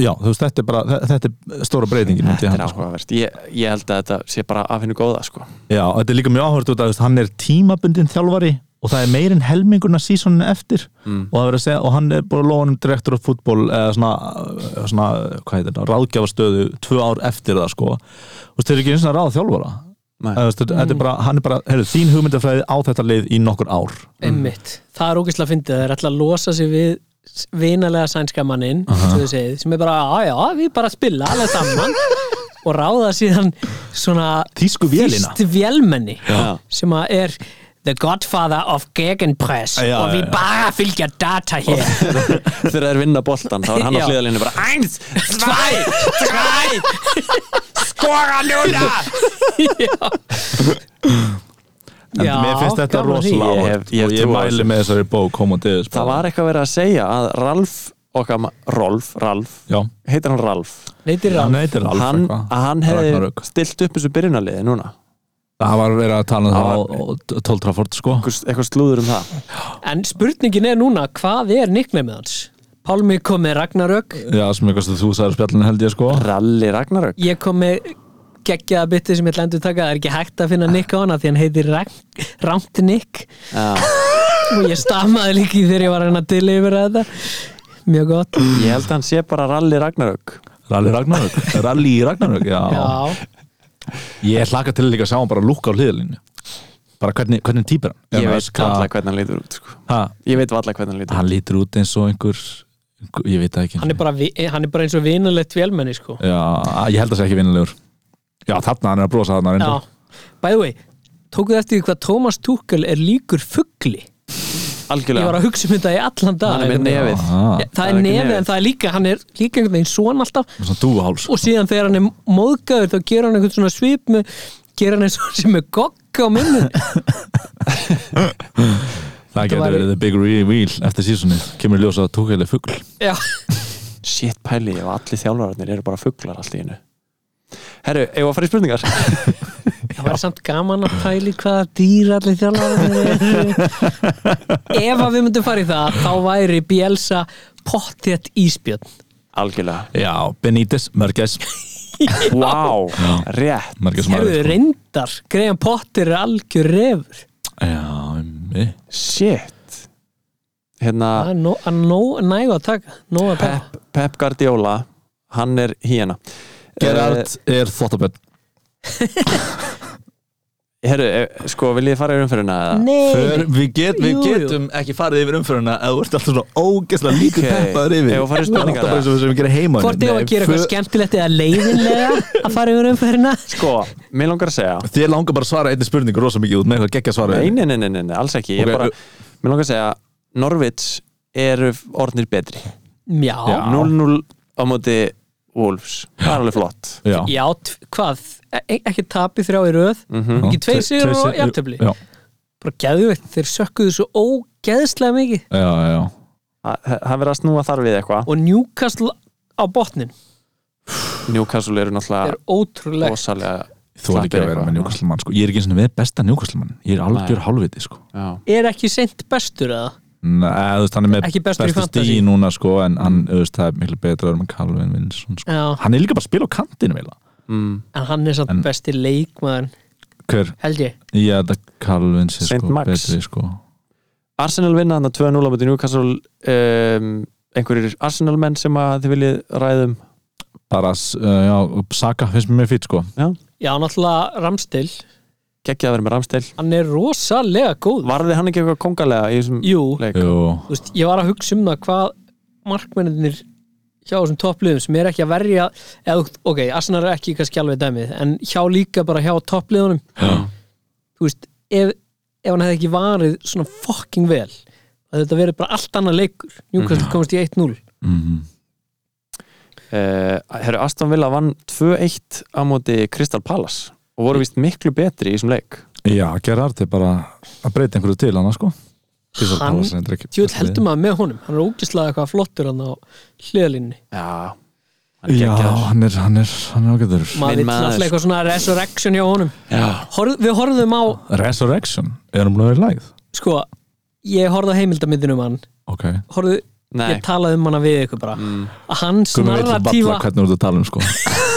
Speaker 4: já, þú veist, þetta er bara þe- þetta er stóra breytingin myndi
Speaker 3: Þetta er
Speaker 4: hann, sko.
Speaker 3: áhugavert, ég, ég held að þetta sé bara af hennu góða sko.
Speaker 4: já, og þetta er líka mjög áhört út að þú veist, hann er tímabundin þjálfari og það er meirinn helminguna sísoninu eftir
Speaker 3: Mm.
Speaker 4: og, það verður að segja, og hann er búin að lofa um direktor af fútból eða svona, svona hvað heitir þetta, ráðgjafastöðu tvö ár eftir það sko og þetta er ekki eins og ráð þjálfara
Speaker 3: Nei.
Speaker 4: Eða, þú veist, þetta er bara, hann er bara, heyrðu, þín hugmyndafræði á þetta lið í nokkur ár
Speaker 5: Einmitt. Það er ógeðslega fyndið, það er alltaf að losa sig við s- vinalega sænska mannin sem, þú segið, sem er bara, já já, við bara spila alveg saman og ráða síðan svona
Speaker 4: Þýsku vélina.
Speaker 5: þýskt vélmenni
Speaker 3: Já.
Speaker 5: sem að er the godfather of gegenpress
Speaker 4: Já,
Speaker 5: og við
Speaker 4: já, já.
Speaker 5: bara fylgja data hér
Speaker 3: þegar það er vinna boltan þá er hann á
Speaker 5: Já.
Speaker 3: hliðalínu bara eins, tvæ, tvæ skora núna
Speaker 5: Já,
Speaker 4: en
Speaker 5: Já,
Speaker 4: mér finnst þetta
Speaker 5: gaman að því.
Speaker 4: rosalega
Speaker 3: Ég
Speaker 4: áhört
Speaker 3: hef- ég hef
Speaker 4: og
Speaker 3: trú
Speaker 4: ég
Speaker 3: á þessu.
Speaker 4: mæli með þessari bók sko. Homo Deus
Speaker 3: það var eitthvað verið að segja að Ralf okkar, ma- Rolf, Ralf
Speaker 4: já,
Speaker 3: heitir hann Ralf,
Speaker 5: neytir
Speaker 4: hann
Speaker 5: ráð
Speaker 4: heitir Alf
Speaker 3: hann,
Speaker 4: eitthvað.
Speaker 3: að hann hefði
Speaker 4: Ragnarök.
Speaker 3: stilt upp þessu byrjunarliði núna
Speaker 4: það var verið að tala um
Speaker 3: Það var-
Speaker 4: það á 12 Trafford sko
Speaker 3: Einhvers- eitthvað slúður um það
Speaker 5: En spurningin er núna, hvað er nicknameð hans? Pálmi kom með Ragnarök
Speaker 4: já, sem eitthvað sem þú sagði spjallinu held ég sko
Speaker 3: Ralli Ragnarök
Speaker 5: ég kom með geggjaða bytti sem ég ætla að endurtaka það er ekki hægt að finna Nick á hana því hann heitir Rank- Rangt Nick
Speaker 3: Já,
Speaker 5: og ég stamaði líka í þegar ég var að reyna að dili yfir þetta mjög gott
Speaker 3: ég held að hann sé bara Ralli Ragnarök
Speaker 4: Rally Ragnarök, Rally Ragnarök já.
Speaker 5: já,
Speaker 4: Ég hlaka til líka að sjá hann bara lúkka á hliðalínu bara hvernig, hvernig týpur hann
Speaker 3: Ég
Speaker 4: Ef
Speaker 3: veit
Speaker 4: hann-
Speaker 3: varla hvernig hann lítur út sko.
Speaker 4: ha,
Speaker 3: Ég veit varla hvernig hann lítur
Speaker 4: hann lítur út eins og einhver einhver- ég veit það ekki
Speaker 5: hann er bara, vi- hann er bara eins og vinalegt vélmenni sko.
Speaker 4: já, ég held að það sé ekki vinnulegur já þarna hann er að brosa þarna
Speaker 5: Já.
Speaker 4: reyndar.
Speaker 5: by the way, tókuð eftir því hvað Thomas Tuchel er líkur fuggli
Speaker 3: út
Speaker 5: ég var
Speaker 3: Algjörlega,
Speaker 5: að hugsa um þetta í allan dag
Speaker 3: hann er með nefið
Speaker 4: Ah,
Speaker 5: það, er nefið en það er líka, hann er líka einhvern veginn svona alltaf
Speaker 4: svona dúháls
Speaker 5: og síðan þegar hann er móðgæður þá gera hann einhvern svona svip með gera hann eins og sem er gogga á minni
Speaker 4: það getur
Speaker 5: var-
Speaker 4: verið the big reveal eftir sísunni kemur ljósa að tókæli fugl
Speaker 5: já,
Speaker 3: Shit pæli, ég var allir þjálfararnir eru bara fuglar allt í einu Herru, eigum við að fara í spurningar?
Speaker 5: það var samt gaman að pæli hvaða dýr allir þjálfararnir eru. ef að við myndum fara í það þá væri Bielsa pottet íspjörn
Speaker 3: Algjörlega
Speaker 4: já, Benítez, Mörgæs
Speaker 3: Vá, rétt
Speaker 4: Mörgæs
Speaker 5: Herðu reyndar, Graham Potter er algjör refur
Speaker 4: já, einmitt.
Speaker 3: Shit Hérna,
Speaker 5: Það er nóg- að nóg- næg að taka Nóg að taka
Speaker 3: Pep, Pep Guardiola Hann er hína
Speaker 4: Gerard er þvottaböld
Speaker 3: Herru, eh, sko, vil ég fara í umferðina? eða?
Speaker 5: Nei,
Speaker 4: við, get, við
Speaker 5: Jú, jú.
Speaker 4: getum ekki farið yfir umfyruna ef þú ert alltaf svona ógeðslega lítið
Speaker 3: Ok.
Speaker 4: okay. peppaður yfir
Speaker 3: Ef þú farið í spurningar,
Speaker 4: Það er alltaf bara eins og við sem við gerum heima
Speaker 5: hvort ég var að gera eitthvað skemmtilegt eða leiðinlega að fara yfir umferðina
Speaker 3: Sko, mér langar að segja
Speaker 4: Þér langar bara að svara einni spurningu rosa mikið út með eitthvað geggja svara
Speaker 3: Nei, nei, nei, nei, nei, nei, alls ekki Ég
Speaker 4: Ok,
Speaker 3: bara, mér langar að segja Norvits eru orðnir betri
Speaker 5: Já,
Speaker 3: 0-0 á móti Wolves Það er alveg flott
Speaker 4: Já,
Speaker 5: já, tv- hvað e ekki tapi þrjá í röð
Speaker 3: Mhm.
Speaker 5: ekki tveir sigur og
Speaker 4: sig-
Speaker 5: jafntefli.
Speaker 4: Já,
Speaker 5: bara geðveikt, þeir sökkuðu svo ógeðslega mikið
Speaker 4: já, já
Speaker 3: Það það verður að snúa þar við eitthvað
Speaker 5: og Newcastle á botnin
Speaker 3: Newcastle eru
Speaker 5: er
Speaker 3: náttúrulega
Speaker 5: ótrúlegt
Speaker 3: rosalega
Speaker 4: Þú er ekki
Speaker 3: Klappir
Speaker 4: að vera
Speaker 3: eitthvað.
Speaker 4: með njúkastlumann sko. Ég er ekki eins og með besta njúkastlumann Ég er algjör hálfviti sko.
Speaker 3: Já,
Speaker 5: er ekki seint bestur eða
Speaker 4: Nei, þú veist, hann er með
Speaker 5: Ekki bestur í fantasy. Mm.
Speaker 4: stíi núna sko, en hann, þú veist, það er miklu betra með Calvin Vinson sko.
Speaker 5: já,
Speaker 4: Hann er líka bara að spila á kantinu eiginlega.
Speaker 3: mm.
Speaker 5: en hann er satt
Speaker 4: En-
Speaker 5: besti leikmaður
Speaker 4: Hver?
Speaker 5: held ég,
Speaker 4: Ég held að Calvin sé
Speaker 3: Saint
Speaker 4: sko,
Speaker 3: Max.
Speaker 4: betri sko.
Speaker 3: Arsenal vinna þannig 2-0 á móti Newcastle um, einhverjir Arsenal menn sem að þið viljið um. ræðum
Speaker 4: Bara, uh, já, Saka finnst mér fýtt sko.
Speaker 5: já, náttúrulega Ramstil
Speaker 3: geggja að vera með Ramstel
Speaker 5: hann er rosalega góð
Speaker 3: Varði hann ekki eitthvað kongalega í þessum
Speaker 5: jú,
Speaker 3: leik?
Speaker 4: Jú,
Speaker 5: þú veist, ég var að hugsa um það hvað markmennir hjá þessum toppliðum sem er ekki að verja eða, ok, Arsenal er ekki kannski alveg dæmið en hjá líka bara hjá toppliðunum
Speaker 4: Já.
Speaker 5: þú veist, ef, ef hann hefði ekki varið svona fucking vel að þetta verið bara allt annað leikur Newcastle komist í 1-0
Speaker 4: mhm
Speaker 3: Uh, herru, Aston Villa vann 2-1 á móti Crystal Palace og voru vist miklu betri í þessum leik
Speaker 4: Já, Gerard er bara að breyta einhverju til hann sko. Crystal
Speaker 5: Hann-
Speaker 4: Palace eh, reyndar ekki-
Speaker 5: djúvel heldur maður með honum, hann er ógislega eitthvað flottur hann á hliðalínni
Speaker 3: Já,
Speaker 4: Já, hann er, hann er, hann er ágæður
Speaker 5: maður
Speaker 3: Minn
Speaker 5: vill
Speaker 3: maður.
Speaker 4: sko.
Speaker 5: alltaf eitthvað svona resurrection hjá honum
Speaker 3: Já.
Speaker 5: Horf, við horfðum á,
Speaker 4: Resurrection, er hann búin að vera í læð?
Speaker 5: sko ég horfði á heimildamindinu um hann
Speaker 4: Ok,
Speaker 5: horfðu,
Speaker 3: Nei,
Speaker 5: ég talaði um hana við ykkur bara að hans
Speaker 4: Mm. Gummi veit balla
Speaker 5: narratífa
Speaker 4: hvernig voru að tala um sko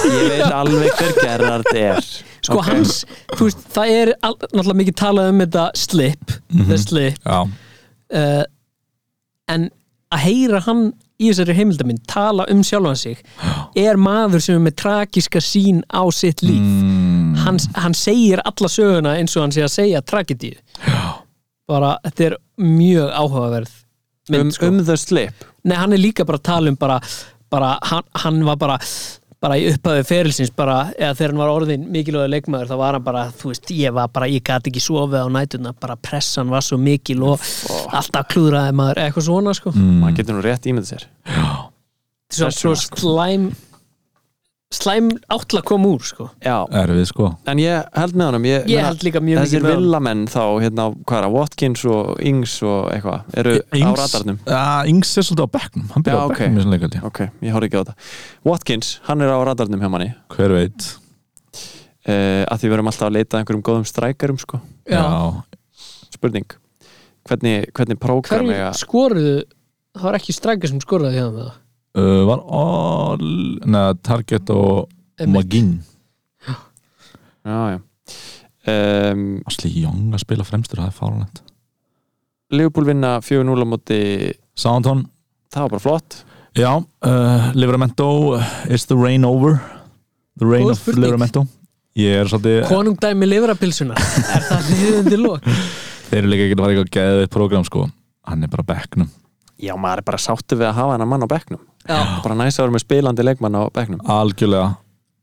Speaker 3: ég veit alveg hver Gerard er
Speaker 5: sko hans, þú veist, það er all, náttúrulega mikið talað um þetta slip
Speaker 4: Mhm.
Speaker 5: the slip
Speaker 4: Já,
Speaker 5: uh, en að heyra hann í þessari heimildamind tala um sjálfan sig er maður sem er með tragiska sín á sitt líf
Speaker 4: Mm.
Speaker 5: hann, hann segir alla söguna eins og hann sé að segja tragedíu bara, þetta er mjög áhugaverð mynd,
Speaker 3: um,
Speaker 5: sko.
Speaker 3: um the slip
Speaker 5: Nei, hann er líka bara að tala um bara, bara hann, hann var bara bara í upphæðu ferilsins bara, eða þegar hann var orðin mikilvægur leikmaður þá var hann bara, þú veist, ég var bara ég gat ekki sofið á nætuna, bara pressan var svo mikil og alltaf klúðraði maður eitthvað svona, sko
Speaker 4: Mm.
Speaker 3: maður getur nú rétt ímynd sér
Speaker 5: svo, svo slæm slæm átla kom úr, sko
Speaker 3: Já,
Speaker 4: erfið sko
Speaker 3: en ég held með honum Ég,
Speaker 5: ég
Speaker 3: meina,
Speaker 5: held líka mjög mikið
Speaker 3: Þessir
Speaker 5: með
Speaker 3: villamenn þá, hérna, hvað er það, Watkins og Ings og eitthvað, eru á radarnum
Speaker 4: Já, Ings er svolítið á bekknum, hann byrja
Speaker 3: Já,
Speaker 4: á
Speaker 3: ok.
Speaker 4: bekknum í þessum leikald já.
Speaker 3: Ok, ég horf ekki á þetta Watkins, hann er á radarnum hjá manni
Speaker 4: Hver veit
Speaker 3: uh, að því við erum alltaf að leita að einhverjum góðum strækarum sko.
Speaker 5: Já.
Speaker 3: spurning hvernig, hvernig prógram
Speaker 5: hverju
Speaker 3: ég að
Speaker 5: skoruðu, það var ekki strækja sem skoraði hjá þeim það
Speaker 4: Uh, Var all Neða, Target og
Speaker 5: Einmitt.
Speaker 4: Magin
Speaker 3: já, já. Um,
Speaker 4: Asli Young að spila fremstur, það er fárlænt
Speaker 3: Leopold vinna 4-0 á móti
Speaker 4: Soundhorn,
Speaker 3: það var bara flott
Speaker 4: já, uh, Livramento Is the rain over? The rain
Speaker 5: Góð
Speaker 4: of
Speaker 5: spurning.
Speaker 4: Livramento Ég er svolítið,
Speaker 5: Konungdæmi livrapilsuna Er það liðundi lók?
Speaker 4: þeir eru líka ekki að fara í eitthvað geðið program sko Hann er bara á bekknum
Speaker 3: Já, maður er bara sáttu við að hafa hennar mann á bekknum
Speaker 5: Já,
Speaker 3: bara næsa að vera með spilandi leikmann á bekknum
Speaker 4: Algjörlega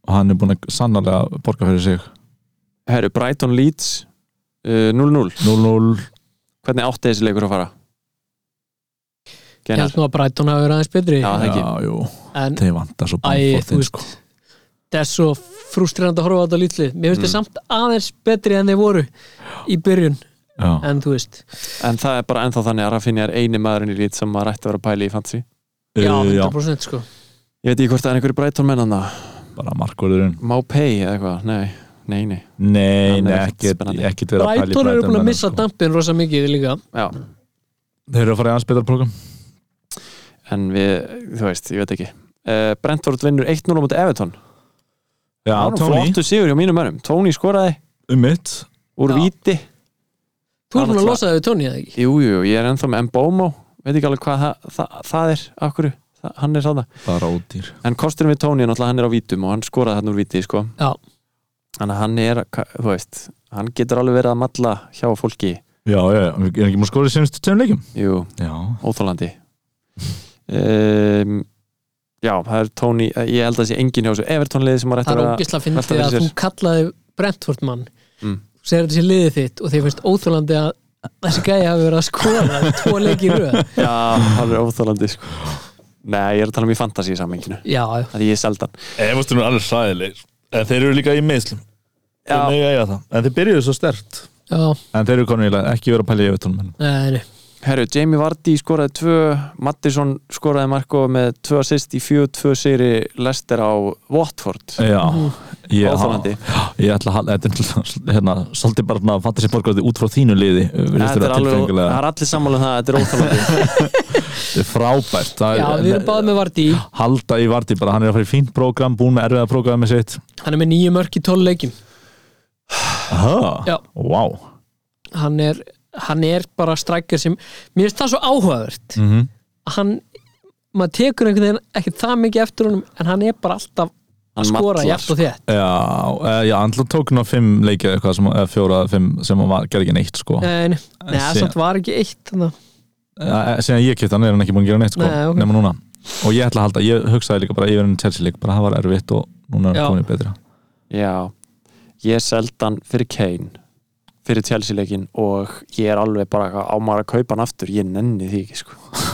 Speaker 4: Og hann er búin að sannarlega borga fyrir sig
Speaker 3: Herru, Brighton Leeds uh, 0-0
Speaker 4: 0-0
Speaker 3: Hvernig átti þessi leikur að fara?
Speaker 5: ég
Speaker 3: Genar,
Speaker 5: held nú að Brighton hafi verið aðeins betri
Speaker 3: Já, það ekki.
Speaker 4: Já, jú
Speaker 5: En
Speaker 4: Þeir vantar svo
Speaker 5: Æ,
Speaker 4: bánfóð
Speaker 5: þú veist Það er svo frústrerandi að horfa á þetta lítlið Mér finnst það samt aðeins betri en þeir voru í byrjun,
Speaker 4: Já,
Speaker 5: en þú veist
Speaker 3: en það er bara ennþá þannig að Rafinha er eini maðurinn í lít sem maður ætti að vera að pæli í fantasy
Speaker 5: Já,
Speaker 4: Uh,
Speaker 5: 100% sko
Speaker 3: Ég veit ekki hvort það er einhverju Brighton menn hann
Speaker 4: bara markvörðurinn
Speaker 3: Mápei eða eitthvað, nei, nei, nei
Speaker 4: Nei,
Speaker 3: Hann
Speaker 4: nei,
Speaker 3: er ekkert
Speaker 4: ekkert
Speaker 3: spennandi.
Speaker 4: ekkert verið að pæla í
Speaker 5: Brighton eru búin að
Speaker 4: mönnum,
Speaker 5: missa
Speaker 4: sko.
Speaker 5: dampin rosa mikið líka
Speaker 3: Já,
Speaker 4: Þeir eru að fara í aðeins betra program
Speaker 3: en við, þú veist, ég veit ekki uh, Brentford vinnur 1-0 á móti Everton Það
Speaker 4: Já,
Speaker 3: var nú
Speaker 4: Tony,
Speaker 3: Flottu sigur hjá mínum mönnum, Tony skoraði
Speaker 4: um mitt
Speaker 3: úr
Speaker 5: Já.
Speaker 3: víti
Speaker 5: Þú
Speaker 3: Það
Speaker 5: er búin að
Speaker 3: náttúrulega-
Speaker 5: losa þau við Tony, eða ekki?
Speaker 3: Jú, jú, ég er ennþá með Mbomo veit ekki alveg hvað það, það, það er akkur, það, hann er sáða
Speaker 4: Það er ódýr
Speaker 3: en kosturinn við Tony, er náttúrulega hann er á vítum og hann skoraði hann úr víti, sko
Speaker 5: Já,
Speaker 3: þannig að hann er, ka- þú veist hann getur alveg verið að malla hjá fólki
Speaker 4: Já, já, já, er ekki múin að skora í senstu tveim leikum
Speaker 3: jú,
Speaker 4: Já,
Speaker 3: óþólandi um, já, það er Tony ég held að það sé engin hjá þessu Everton-liði sem var
Speaker 5: það
Speaker 3: eftir
Speaker 5: er
Speaker 3: að
Speaker 5: ógisla að finna
Speaker 3: velta
Speaker 5: því
Speaker 3: fyrir
Speaker 5: að þú
Speaker 3: sér.
Speaker 5: kallaði Brentford mann
Speaker 3: Mm.
Speaker 5: og segir þessi liðið þitt og þeir finnst óþjólandi að þessi gæði hafi verið að skora tvo leiki í röð
Speaker 3: já, það er óþólandi sko. nei, ég er að tala um í fantasy samenginu
Speaker 5: Já, já.
Speaker 3: að ég er seldan
Speaker 6: Everton er alveg sæðilegir En þeir eru líka í meðslum Þeir
Speaker 3: já,
Speaker 6: mega eiga það. En þeir byrjuðu svo stert
Speaker 5: já,
Speaker 4: en þeir eru komin í lag ekki verið að pæla í yfirtónum en
Speaker 5: neini
Speaker 3: herru, Jamie Vardy skoraði tvö Mattisson skoraði Marko með tvö assist í fjög, tvö sigri Lester á Watford
Speaker 4: Já, ég,
Speaker 3: óþólandi
Speaker 4: ég ætla að halda þetta er hérna, svolítið bara að fatta sér borgarði út frá þínu liði eh,
Speaker 3: Þetta er alveg, það
Speaker 4: tilfengilega
Speaker 3: er allir sammála um það, þetta er óþálandi
Speaker 4: frábært það,
Speaker 5: Já, við erum báð með Vardí
Speaker 4: halda í varti bara, hann er að fara í fínt prógram búin með erfiða prógram með sitt
Speaker 5: Hann er með nýju mörk í tól leikim Já.
Speaker 4: Aha, wow
Speaker 5: hann er, hann er bara strækjur sem Mér finnst það svo áhugavert
Speaker 4: mm
Speaker 3: Mhm.
Speaker 5: að hann maður tekur einhvern veginn ekki það mikið eftir honum en hann er bara alltaf að
Speaker 3: Hann
Speaker 5: skora
Speaker 3: mallar,
Speaker 5: jæft og þétt
Speaker 4: Já, eh, já, hann tók ná fimm leikið eitthvað sem, eða fjóra, fimm sem hann var, gerði ekki neitt sko.
Speaker 5: Nei, nei, nei,
Speaker 4: sé-
Speaker 5: það var ekki eitt þannig. að-
Speaker 4: Eh, Síðan ég kipti hann er hann ekki búin að gera neitt sko,
Speaker 5: Nei, ok.
Speaker 4: nema núna. Og ég ætla að halda, ég hugsaði líka bara, ég verið Chelsea leik, bara það var erfitt og núna er
Speaker 5: Já.
Speaker 4: hann komin í betra.
Speaker 3: Já, ég seldi hann fyrir Kane fyrir Chelsea-leikin og ég er alveg bara eitthvað, á maður að kaupa hann aftur ég nenni því ekki sko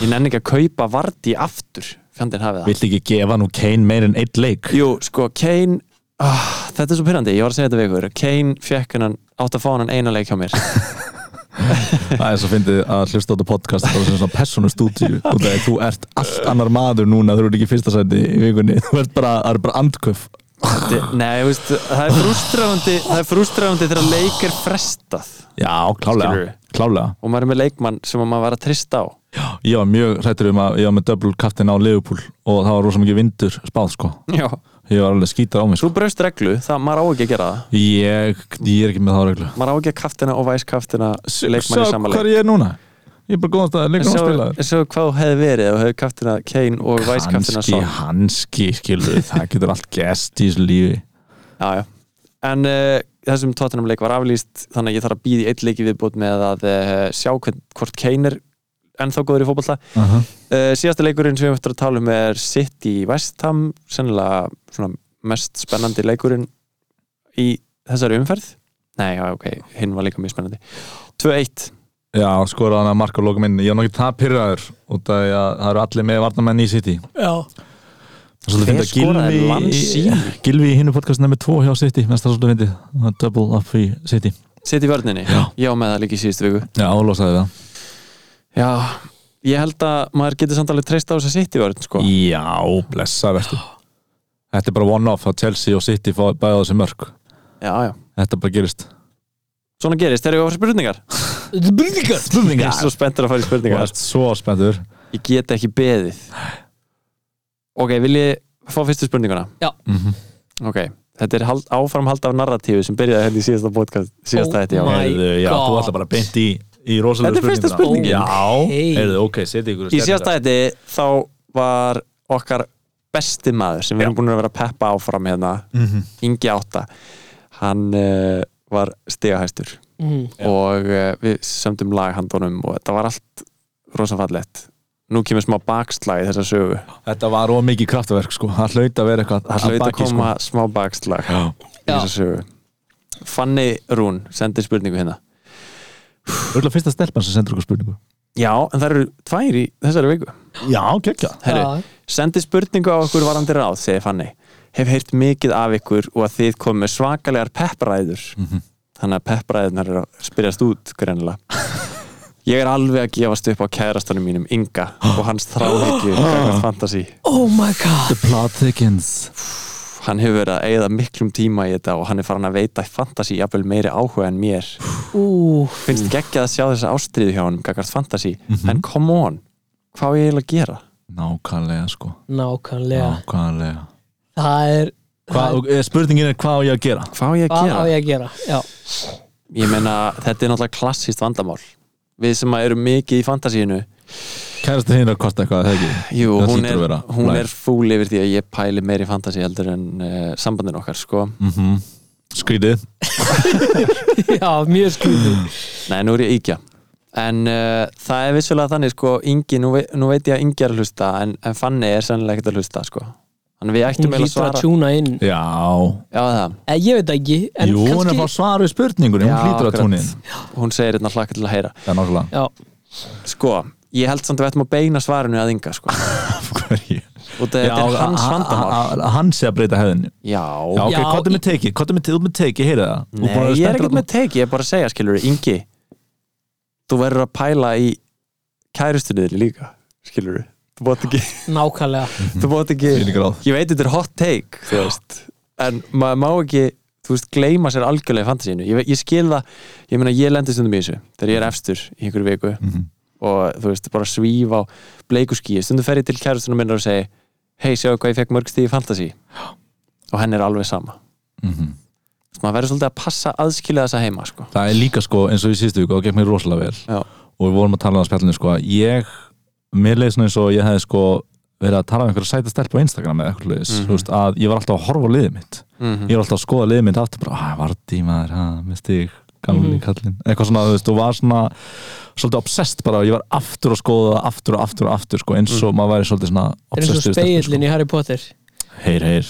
Speaker 3: ég nenni ekki að kaupa Vardí aftur fjandinn hafið það
Speaker 4: Vilt ekki gefa nú Kane meir en eitt leik?
Speaker 3: Jú, sko, Kane ah, þetta er svo pyrrandi, ég var að segja þetta við ykkur Kane fekk hann, átt að fá hann eina leik hjá mér
Speaker 4: Það er svo fyndið að hlusta á þetta podcast bara sem svona personustúdíu og það er þú ert allt annar maður núna, þú ert ekki í fyrsta sæti í vikunni, þú ert bara, það er bara andköf.
Speaker 3: Þi- Nei, veist, það er frústrafandi það er frústrafandi þegar leik er frestað
Speaker 4: Já, klálega,
Speaker 3: Skilurðu?
Speaker 4: klálega.
Speaker 3: og maður er með leikmann sem maður var að trista á
Speaker 4: Ég var mjög hrættur um að ég var með double captain á Liverpool og það var rosa mikið vindur spáð sko.
Speaker 3: Já,
Speaker 4: Ég var alveg skítar á mig sko.
Speaker 3: svo braust reglu það maður á ekki að gera það
Speaker 4: Ég, ég er ekki með þá reglu
Speaker 3: maður á ekki að kaftina og væskaftina leikmanni
Speaker 4: Sjá
Speaker 3: samanleik
Speaker 4: hvað ég er núna Ég er bara góðast að leikmann að spila
Speaker 3: Sjáu sjá hvað þú hefði verið og hefði kaftina Kane og væskaftina
Speaker 4: Hanski,
Speaker 3: Son
Speaker 4: hanski, skilur Það getur allt gest í þessu lífi
Speaker 3: já, já. En uh, þessum Tottenham leik var aflýst þannig að ég þarf að býði eitt leiki viðbútt með að uh, sjá hvern, hvort Kane er ennþá góður í fótballa
Speaker 4: uh -huh.
Speaker 3: uh, Síðasta leikurinn sem við höfum eftir að tala um er City í West Ham sennilega svona mest spennandi leikurinn í þessari umferð Nei, já, ok, hinn var líka mjög spennandi 2-1
Speaker 4: Já, skoraði hann að marka loka minni Ég er nokkið það pyrraður út af því að það eru allir með varnamenn í City
Speaker 5: Já,
Speaker 4: Það er svolítið
Speaker 3: Hver
Speaker 4: fyndið að
Speaker 3: skoraði
Speaker 4: Gylfi
Speaker 3: Lanzini?
Speaker 4: Gylfi í hinnu podcastinu með tvo hjá City Mér finnst það svolítið fyndið Það er Double up í City
Speaker 3: City í vörninni,
Speaker 4: Já.
Speaker 3: já með það líka í síðustu viku
Speaker 4: Já, álosaði það
Speaker 3: Já, ég held að maður getur samt alveg treyst á þess að sitt í vörðin sko.
Speaker 4: Já, blessa verður Þetta er bara one-off að Chelsea og City fá bæða þessi mörg
Speaker 3: Já, já
Speaker 4: Þetta bara gerist
Speaker 3: Svona gerist, þegar ég var spurningar
Speaker 5: þetta er brýðingar
Speaker 3: Ég er svo spenntur að fara í
Speaker 4: Þú
Speaker 3: spurningar
Speaker 4: ert svo spenntur
Speaker 3: Ég get ekki beðið Ok, vil ég fá fyrstu spurninguna?
Speaker 5: Já.
Speaker 4: Mhm.
Speaker 3: Ok, þetta er hald, áframhald af narratífi sem byrjaði hérna í síðasta podcast síðasta
Speaker 5: Oh
Speaker 3: þetta, já
Speaker 5: my-
Speaker 4: Heyrðu, já,
Speaker 5: God.
Speaker 4: þú ætla bara beint í, í rosalega
Speaker 3: Þetta er fyrsta
Speaker 5: spurningin.
Speaker 4: Já,
Speaker 5: Ókei.
Speaker 4: heyrðu, ok, setja ykkur
Speaker 3: Í síðasta þetta þá var okkar besti maður sem við erum búin að vera að peppa áfram hérna
Speaker 4: Mhm.
Speaker 3: Ingi Átta hann uh, var stigahæstur
Speaker 5: mm.
Speaker 3: og uh, við sömdum laghandunum og þetta var allt rosafallett nú kemur smá bakslag í þessa sögu
Speaker 4: Þetta var of mikið kraftaverk sko Það hlaut að vera eitthvað
Speaker 3: það
Speaker 4: að
Speaker 3: hlaut að
Speaker 4: baki,
Speaker 3: koma smá bakslag
Speaker 4: sko.
Speaker 3: í þessa sögu Fanny Rún sendi spurningu hérna
Speaker 4: Það er fyrsta stelpan sem sendur okkur spurningu
Speaker 3: já, en það eru tvær í þessari viku
Speaker 4: Já, kekja
Speaker 3: Herru, Sendi spurningu á okkur varandi ráð, segi Fanny. Hef heyrt mikið af ykkur og að þið komið svakalegar peppræður. Þannig að peppræðunar eru að spyrjast út greinlega. Ég er alveg að gefast upp á kærastanum mínum Inga og hans þráhyggju kakvart fantasi.
Speaker 5: Oh my god
Speaker 4: The plot thickens
Speaker 3: Hann hefur verið að eigða miklum tíma í þetta og hann er farin að veita fantasi jafnvel meiri áhuga en mér.
Speaker 5: Ú,
Speaker 3: Finnst
Speaker 4: Mm.
Speaker 3: geggjað að sjá þessa ástriðu hjá hann kakvart fantasi,
Speaker 4: Mhm.
Speaker 3: en come on, hvað á ég eiginlega að gera?
Speaker 4: Nákvæmlega sko
Speaker 5: nákvæmlega
Speaker 4: Nákvæmlega
Speaker 5: Það er
Speaker 4: Hvað- og, eh, Spurningin er hvað á ég að gera
Speaker 3: Hvað á ég að
Speaker 5: Hvað
Speaker 3: gera?
Speaker 5: á ég að gera? Já,
Speaker 3: ég meina, þetta er náttúrulega klassíst vandamál við sem að eru mikið í fantasíinu
Speaker 4: Kærastu hinn er að kosta eitthvað, þegar ekki
Speaker 3: jú,
Speaker 4: Það
Speaker 3: hún
Speaker 4: hlýtur
Speaker 3: er,
Speaker 4: að vera.
Speaker 3: hún
Speaker 4: Blær.
Speaker 3: er fúl yfir því að ég pæli meiri fantasí heldur en uh, sambandin okkar, sko
Speaker 4: Mhm. Skrítið
Speaker 5: já mjög skrítið
Speaker 3: nei, nú er ég íkja en uh, það er vissulega þannig, sko Ingi, nú, vei, nú veit ég að Ingi er að hlusta en, en Fanny er sennilega ekkert að hlusta, sko þannig við ættum
Speaker 5: Hún
Speaker 3: eiginlega að
Speaker 5: hlýtur að
Speaker 3: svara
Speaker 5: tjúna inn
Speaker 4: Já
Speaker 3: já, það,
Speaker 5: Eh, Ég veit það ekki en
Speaker 4: Jú, hún er að
Speaker 5: kannski-
Speaker 4: fá svar við spurningunni Hún
Speaker 3: Já,
Speaker 4: hlýtur að
Speaker 3: akkurat.
Speaker 4: túnin
Speaker 3: hún segir hérna hlaka til að heyra
Speaker 4: Já, nákvæmlega
Speaker 5: Já,
Speaker 3: sko, ég held samt að við ættum að beina svarinu að Inga, sko,
Speaker 4: Af hverju?
Speaker 3: og þetta er
Speaker 4: Já,
Speaker 3: hans
Speaker 4: a- a-
Speaker 3: vandamál
Speaker 4: a- a- Hann sé að breyta hefðinni Já, ok,
Speaker 5: Já,
Speaker 4: hvað er með teiki? Hvað er með teiki? Þú með teiki, heyrðu það Þú búin
Speaker 3: Nei,
Speaker 4: að vera
Speaker 3: ég er
Speaker 4: spenntur
Speaker 3: ekkert
Speaker 4: þarna. um
Speaker 3: með teiki, ég er bara að segja, skilur Ingi, þú verður að pæla í kærustunniðinni líka skilur, þú bótt ekki
Speaker 5: nákvæmlega
Speaker 3: þú bótt ekki,
Speaker 4: Ég er ekki ráð.
Speaker 3: ég veit þetta er hot take þú veist, en maður má ekki þú veist, gleyma sér algjörlega í fantasíinu ég, ve- ég skil það, ég meina ég lendi stundum í þessu þegar ég er efstur í einhverju viku og þú veist, bara svífa á bleikuskíi, stundum fer ég til kærustunum minnar og segi, hei, sjáu hvað ég fekk mörgst í fantasí og henn er alveg sama
Speaker 4: Mhm.
Speaker 3: maður verður svolítið að passa aðskilja þessa heima sko.
Speaker 4: Það er líka sko eins og í síðustu viku og gekk mér rosalega vel
Speaker 3: Já.
Speaker 4: og við vorum að tala um það spjallinu sko að ég, mér leiði svona eins og ég hefði sko verið að tala um einhverja sæta stelpa á Instagram eða eitthvað
Speaker 3: Mhm.
Speaker 4: leiðis, þú veist, að ég var alltaf að horfa á liðið mitt, ég var alltaf að skoða liðið mitt aftur bara, að vartí maður, að með stig gamli
Speaker 3: Mhm.
Speaker 4: kallinn, eitthvað svona, þú veist, og var svona svolítið obsessed bara, ég var aftur að skoða það, aftur og aftur og aftur sko,
Speaker 3: Mhm.
Speaker 4: eins og maður væri svolítið svona
Speaker 5: Það er eins og
Speaker 4: obsessed við stelpur,
Speaker 5: speillin í Harry Potter
Speaker 4: sko. heyr, heyr,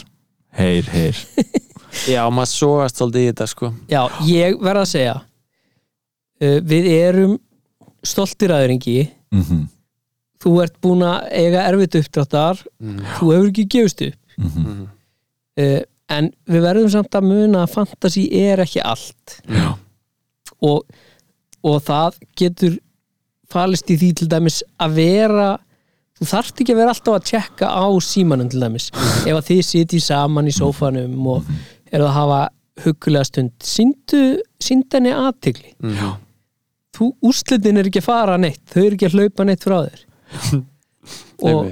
Speaker 4: heyr, heyr
Speaker 3: Já, maður sogast svolítið í þetta sko.
Speaker 5: Já, ég verð að segja uh, Við erum stoltir aðuringi
Speaker 4: mm
Speaker 5: Þú ert búin að eiga erfitt uppdráttar Þú hefur ekki gefist upp uh, En við verðum samt að muna að fantasi er ekki allt
Speaker 3: Já.
Speaker 5: og, og það getur falist í því til dæmis að vera þú þarft ekki að vera alltaf að tjekka á símanum til dæmis ef að þið sitji saman í sófanum og eru að hafa hugulega stund síndu, síndenni aðtigli
Speaker 3: Já.
Speaker 5: þú úrslitin er ekki að fara neitt þau eru ekki að hlaupa neitt frá þér og,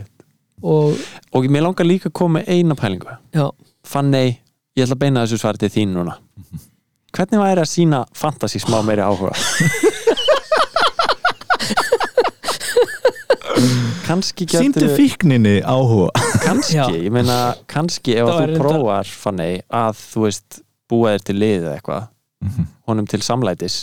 Speaker 3: Og,
Speaker 5: og
Speaker 3: og mér langar líka að koma með eina pælingu
Speaker 5: já,
Speaker 3: Fanny, ég ætla að beina þessu svar til þín núna Hvernig væri að sína fantasi smá meiri áhuga? kannski
Speaker 4: síndu
Speaker 3: getur
Speaker 4: fíkninni áhuga
Speaker 3: kannski,
Speaker 5: Já.
Speaker 3: ég meina kannski ef
Speaker 5: Það
Speaker 3: að
Speaker 5: væri
Speaker 3: þú
Speaker 5: reyndar-
Speaker 3: prófar Fanny að þú veist búa þér til lið eða eitthvað honum til samlætis